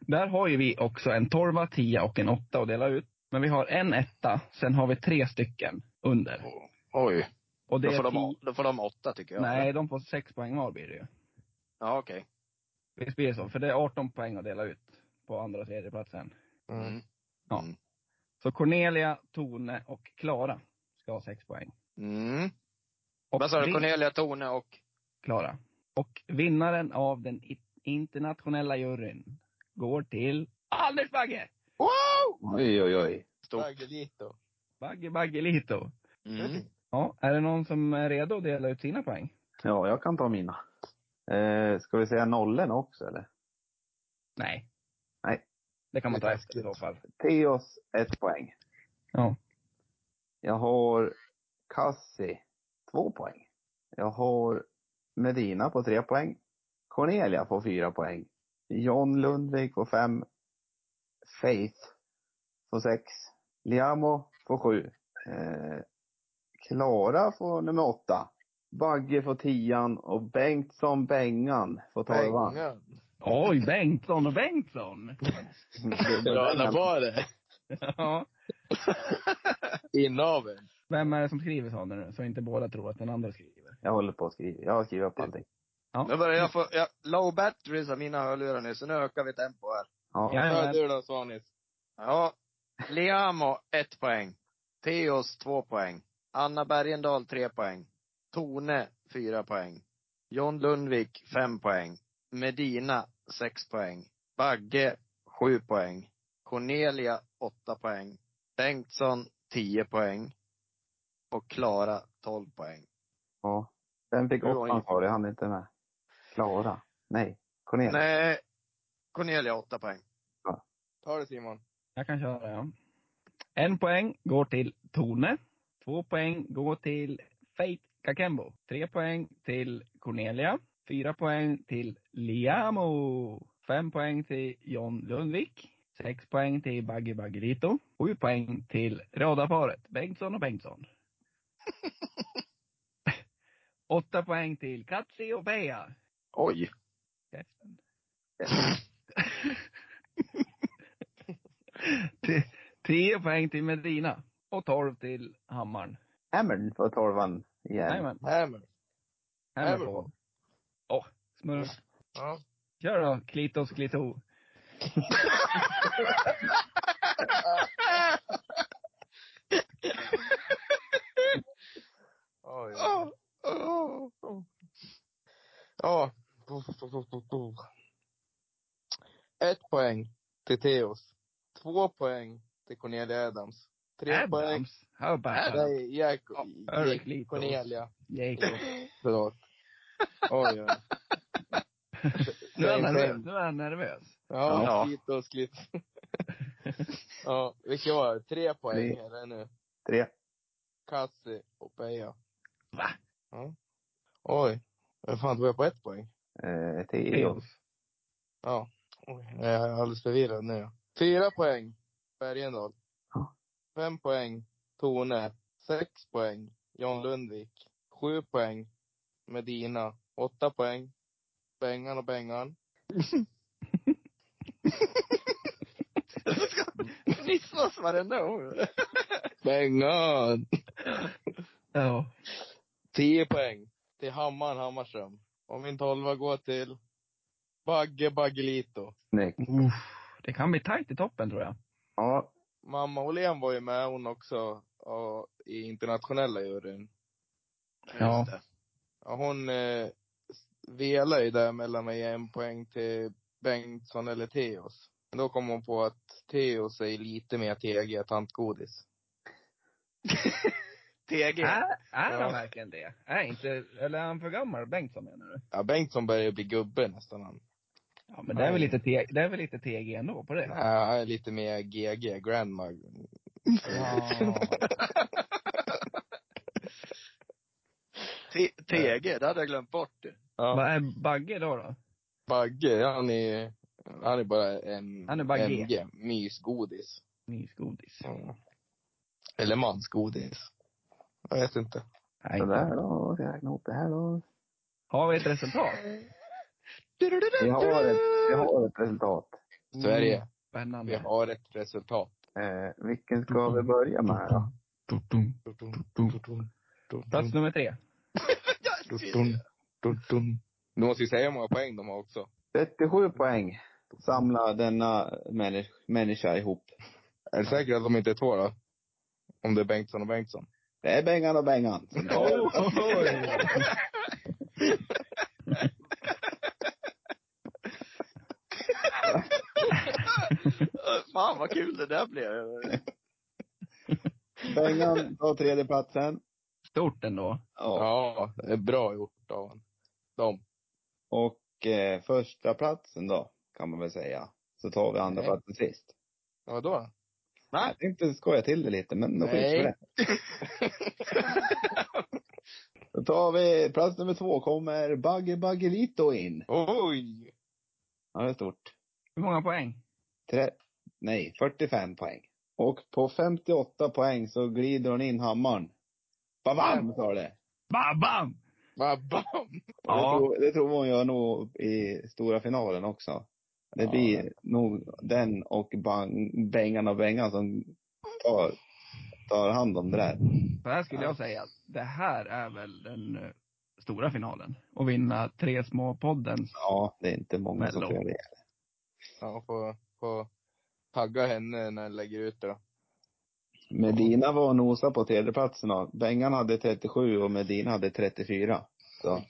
Speaker 4: Där har ju vi också en torva, tia och en åtta att dela ut. Men vi har en etta, sen har vi tre stycken under.
Speaker 2: Oj.
Speaker 4: Och det
Speaker 2: Då
Speaker 4: är
Speaker 2: får, de,
Speaker 4: ti-
Speaker 2: ha- då får de åtta tycker jag.
Speaker 4: Nej, de får sex poäng var blir det ju.
Speaker 2: Ja, okej.
Speaker 4: Visst blir det så? För det är 18 poäng att dela ut på andra och tredje platsen.
Speaker 1: Mm.
Speaker 2: Mm.
Speaker 4: Ja.
Speaker 2: Mm.
Speaker 4: Så Cornelia, Tone och Klara ska ha sex poäng.
Speaker 2: Mm.
Speaker 4: Och
Speaker 2: Vad sa du?
Speaker 4: vin-
Speaker 2: Cornelia Torne och?
Speaker 4: Klara. Och vinnaren av den i- internationella juryn går till Anders Bagge!
Speaker 1: Wow!
Speaker 3: Oj, oj, oj.
Speaker 2: Stort.
Speaker 1: Baggelito.
Speaker 4: Bagge Baggelito.
Speaker 2: Mm.
Speaker 4: Ja, är det någon som är redo att dela ut sina poäng?
Speaker 3: Ja, jag kan ta mina. Eh, ska vi säga nollen också eller?
Speaker 4: Nej.
Speaker 3: Nej.
Speaker 4: Det kan man
Speaker 1: Det är
Speaker 4: ta efter i så
Speaker 1: taskigt.
Speaker 4: fall.
Speaker 3: Theos ett poäng.
Speaker 4: Ja.
Speaker 3: Jag har Kassi två poäng. Jag har Medina på tre poäng. Cornelia på fyra poäng. John Lundvik på fem. Faith på sex. Liamo på sju. Eh, Klara får nummer åtta. Bagge får tian och Bengtsson Bengan får tolvan. [laughs]
Speaker 1: Pengar.
Speaker 4: Oj, Bengtsson och Bengtsson! [laughs]
Speaker 2: Bra var det.
Speaker 4: Ja.
Speaker 1: Inaveln.
Speaker 4: Vem är det som skriver sådana nu? Så inte båda tror att den andra skriver.
Speaker 3: Jag håller på att skriva. Jag har skrivit upp allting.
Speaker 2: Nu börjar jag få, jag, low batteries av mina hörlurar nu, så nu ökar vi tempo här.
Speaker 3: Ja.
Speaker 4: Ja.
Speaker 1: Hörde du den Svanis?
Speaker 2: Ja. Liamo, ett poäng. Theos, två poäng. Anna Bergendahl, tre poäng. Tone, fyra poäng. John Lundvik, fem poäng. Medina, sex poäng. Bagge, sju poäng. Cornelia, åtta poäng. Bengtsson, tio poäng. Och Klara, tolv poäng.
Speaker 3: ja. Vem fick
Speaker 2: Du har
Speaker 3: åttan
Speaker 2: ingen-
Speaker 3: sa du? Han är inte med. Klara? Nej. Cornelia?
Speaker 2: Nej, Cornelia, åtta poäng.
Speaker 1: Ta det Simon.
Speaker 4: Jag kan köra, ja. En poäng går till Tone. Två poäng går till Faith Kakembo. Tre poäng till Cornelia. Fyra poäng till Liamo. Fem poäng till John Lundvik. Sex poäng till Bagge Baggerito. Sju poäng till radarparet Bengtsson och Bengtsson. Åtta poäng till Katsi och Peja.
Speaker 2: Oj.
Speaker 4: Käften. [laughs] T- 10 poäng till Medina och 12 till Hammaren.
Speaker 3: Hammern får tolvan igen.
Speaker 4: Jajamän.
Speaker 1: Hammer.
Speaker 4: Hammar
Speaker 1: Hammer.
Speaker 4: på. Åh, smurf.
Speaker 1: Ja.
Speaker 4: Kör då, Klitos Klito.
Speaker 1: Oj, oj. ah. Ja. Ah. Ett poäng till Theos. Två poäng till Cornelia Adams. Tre poäng
Speaker 4: Adams. How about that?
Speaker 1: till Jack...
Speaker 4: Ja, Eric Lito.
Speaker 1: Cornelia.
Speaker 4: Jacob.
Speaker 1: [laughs] Förlåt. Oj, oj.
Speaker 4: Nu är han
Speaker 1: Same,
Speaker 4: nervös.
Speaker 1: same.
Speaker 4: Nu är han nervös.
Speaker 1: Ja,
Speaker 2: Ja.
Speaker 1: skit [laughs] och sklit. ja, vilka var det? Tre poäng
Speaker 3: Tre.
Speaker 1: är det nu.
Speaker 3: Tre.
Speaker 1: Kassi och Peja.
Speaker 4: Va?
Speaker 1: Ja. Oj. Vem fan tog jag på ett poäng?
Speaker 3: Eh, Theo.
Speaker 1: Ja. Oj, jag är alldeles förvirrad nu. Fyra poäng, Bergendahl.
Speaker 3: Ja.
Speaker 1: Fem poäng, Tone. Sex poäng, John Lundvik. Sju poäng, Medina. Åtta poäng, Bengan och Bengan.
Speaker 2: Missas varenda ord.
Speaker 1: Bengan!
Speaker 4: Ja.
Speaker 1: Tio poäng till Hammaren Hammarström. Och min tolva går till Bagge Baggelito.
Speaker 3: Snyggt.
Speaker 4: Uff. Det kan bli tajt i toppen tror jag.
Speaker 3: Ja.
Speaker 1: Mamma Åhlén var ju med hon också ja, i internationella juryn.
Speaker 4: Ja.
Speaker 2: Just det.
Speaker 1: Ja, hon eh, s- velade ju där mellan att ge en poäng till Bengtsson eller Theos. Men då kom hon på att Theos är lite mer TG, tantgodis.
Speaker 2: TG.
Speaker 4: Är, är
Speaker 1: Ja.
Speaker 4: han verkligen det? Är inte, eller är han för gammal, Bengtsson menar du?
Speaker 1: Ja, Bengtsson börjar ju bli gubbe nästan han.
Speaker 4: Ja, men det är väl lite, te- det är väl lite TG ändå på det?
Speaker 1: Ja, han är lite mer GG, grandma.
Speaker 4: Ja.
Speaker 2: T- TG, det hade jag glömt bort.
Speaker 1: Ja,
Speaker 4: Vad är Bagge då? då?
Speaker 1: Bagge, han är, han är bara en
Speaker 4: Han är bara G.
Speaker 1: MG, mysgodis.
Speaker 4: Mysgodis.
Speaker 1: Mm. Eller mansgodis. Jag vet inte.
Speaker 4: Nej.
Speaker 3: Sådär då. Ska jag räkna ihop det här då?
Speaker 4: Har vi ett resultat?
Speaker 3: Vi har ett, vi har ett resultat.
Speaker 1: Sverige. Vi
Speaker 4: Spännande.
Speaker 1: har ett resultat.
Speaker 3: Eh, vilken ska vi börja med då?
Speaker 4: Plats nummer tre.
Speaker 1: Du måste ju säga hur många poäng de har också.
Speaker 3: 37 poäng samlar denna männis- människa ihop.
Speaker 1: Är du säker att de inte är två då? Om det är Bengtsson och Bengtsson.
Speaker 3: Det är Bengan och Bengan. som tar det.
Speaker 2: Fan vad kul det där blev.
Speaker 3: Bengan tar tredjeplatsen.
Speaker 4: Stort ändå.
Speaker 3: Ja.
Speaker 1: Ja, det är bra gjort av honom. De.
Speaker 3: Och eh, första platsen då, kan man väl säga. Så tar vi andra
Speaker 1: Nej.
Speaker 3: platsen sist.
Speaker 1: Ja, Vadå?
Speaker 2: Va?
Speaker 3: Jag tänkte skoja till det lite, men då skiter
Speaker 2: Nej.
Speaker 3: vi i det. Då tar vi plats nummer två, kommer Bagge Baggelito in.
Speaker 1: Oj!
Speaker 3: Ja, det är stort.
Speaker 4: Hur många poäng?
Speaker 3: Tre... Nej, 45 poäng. Och på 58 poäng så glider hon in hammaren. Babam, sa det.
Speaker 4: Bam, bam!
Speaker 1: Vad bam!
Speaker 3: Det,
Speaker 4: Ja.
Speaker 3: tror, det tror hon gör nog i stora finalen också. Det
Speaker 1: Ja.
Speaker 3: blir nog den och bang, Bengan och Bengan som tar, tar hand om det där.
Speaker 4: Så här skulle jag säga att det här är väl den eh, stora finalen. Att vinna tre små poddens.
Speaker 3: Ja, det är inte många som
Speaker 4: Mello.
Speaker 3: gör det.
Speaker 1: Ja, får, får tagga henne när jag lägger ut det då.
Speaker 3: Medina var och nosade på tredjeplatsen. då. Bengan hade 37 och Medina hade 34. Så.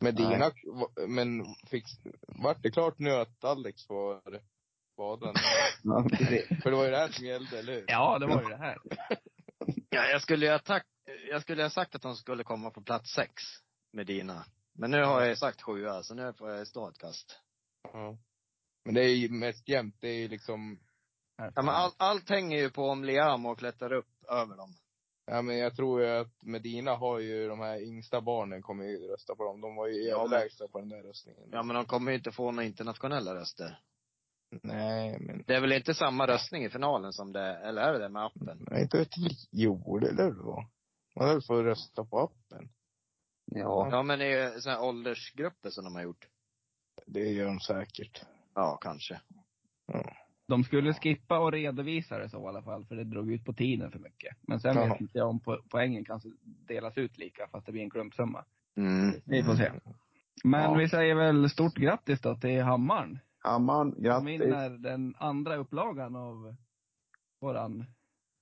Speaker 1: Men
Speaker 3: Nej.
Speaker 1: dina, men fick, vart det klart nu att Alex får bada?
Speaker 3: Ja, precis.
Speaker 1: För det var ju det här som gällde, eller hur?
Speaker 4: Ja, det var ju det här.
Speaker 2: Ja, jag, skulle ju ha tack, jag skulle ha sagt att de skulle komma på plats sex med dina. Men nu har jag ju sagt sjua, så nu får jag stå ett kast.
Speaker 1: Ja. Men det är ju mest jämnt. Det är ju liksom,
Speaker 2: Ja, men all, allt hänger ju på om Liamo klättrar upp över dem.
Speaker 1: ja men jag tror ju att Medina har ju de här yngsta barnen kommer ju rösta på dem. De var ju
Speaker 2: Ja, men-
Speaker 1: överlägsna på den där röstningen.
Speaker 2: Ja, men de kommer ju inte få några internationella röster.
Speaker 1: Nej men,
Speaker 2: Det är väl inte samma röstning i finalen som det, eller är det det med appen?
Speaker 1: nej, inte vet jag. Jo, det lär det vara. Man lär få rösta på appen.
Speaker 3: Ja.
Speaker 2: Ja, men det är ju såna här åldersgrupper som de har gjort.
Speaker 1: Det gör de säkert.
Speaker 2: Ja, kanske.
Speaker 4: De skulle skippa och redovisa det så i alla fall, för det drog ut på tiden för mycket. Men sen
Speaker 1: Jaha.
Speaker 4: vet inte jag om po- poängen kanske delas ut lika, fast det blir en klumpsumma.
Speaker 2: Mm. [laughs]
Speaker 4: Vi får se. Men
Speaker 3: Ja.
Speaker 4: vi säger väl stort grattis då till Hammarn.
Speaker 3: Hammaren,
Speaker 4: Som
Speaker 3: grattis.
Speaker 4: vinner den andra upplagan av våran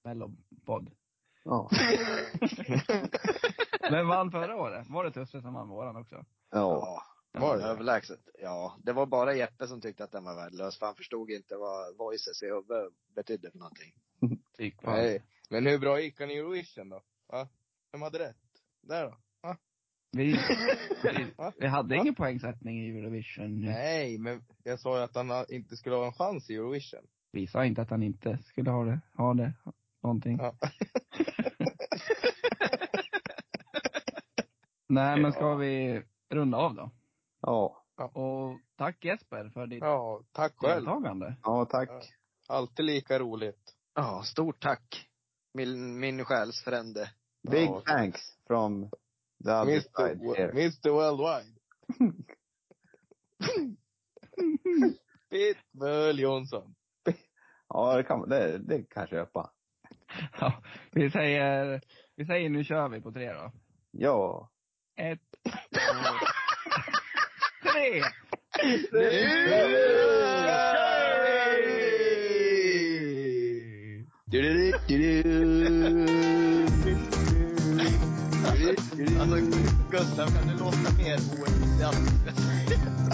Speaker 4: Mellopodd.
Speaker 3: Ja.
Speaker 4: Vem vann förra året? Var det Tusse som vann våran också?
Speaker 3: ja.
Speaker 2: Ja.
Speaker 1: Var det?
Speaker 2: Överlägset. Ja. Det var bara Jeppe som tyckte att den var värdelös, för han förstod inte vad voices i huvudet betydde för någonting.
Speaker 4: Fick fan.
Speaker 1: Nej. Men hur bra gick han i Eurovision då? Va? Vem hade rätt? Där då?
Speaker 4: Vi, vi,
Speaker 1: Va?
Speaker 4: vi hade
Speaker 1: Va?
Speaker 4: ingen poängsättning i Eurovision.
Speaker 1: Nej, men jag sa ju att han ha- inte skulle ha en chans i Eurovision.
Speaker 4: Vi sa inte att han inte skulle ha det, ha det, någonting.
Speaker 1: Ja.
Speaker 4: [laughs] Nej, men ska vi runda av då?
Speaker 3: ja.
Speaker 4: Och tack Jesper för ditt
Speaker 1: Ja, tack själv.
Speaker 4: deltagande.
Speaker 3: Ja, tack.
Speaker 1: Ja. Alltid lika roligt.
Speaker 2: Ja, stort tack. Min, min själs frände.
Speaker 3: Big
Speaker 1: Ja.
Speaker 3: thanks from the other
Speaker 1: Mr.
Speaker 3: side
Speaker 1: W-
Speaker 3: here.
Speaker 1: Mr [laughs] Worldwide. Pitbull Jonsson.
Speaker 3: Ja, det kan, det, det kan jag köpa.
Speaker 4: Ja, vi säger, vi säger nu kör vi på tre då.
Speaker 3: Ja.
Speaker 4: Ett, två, tre!
Speaker 2: Alltså, Gustav, kan du låta mer oentusiastisk?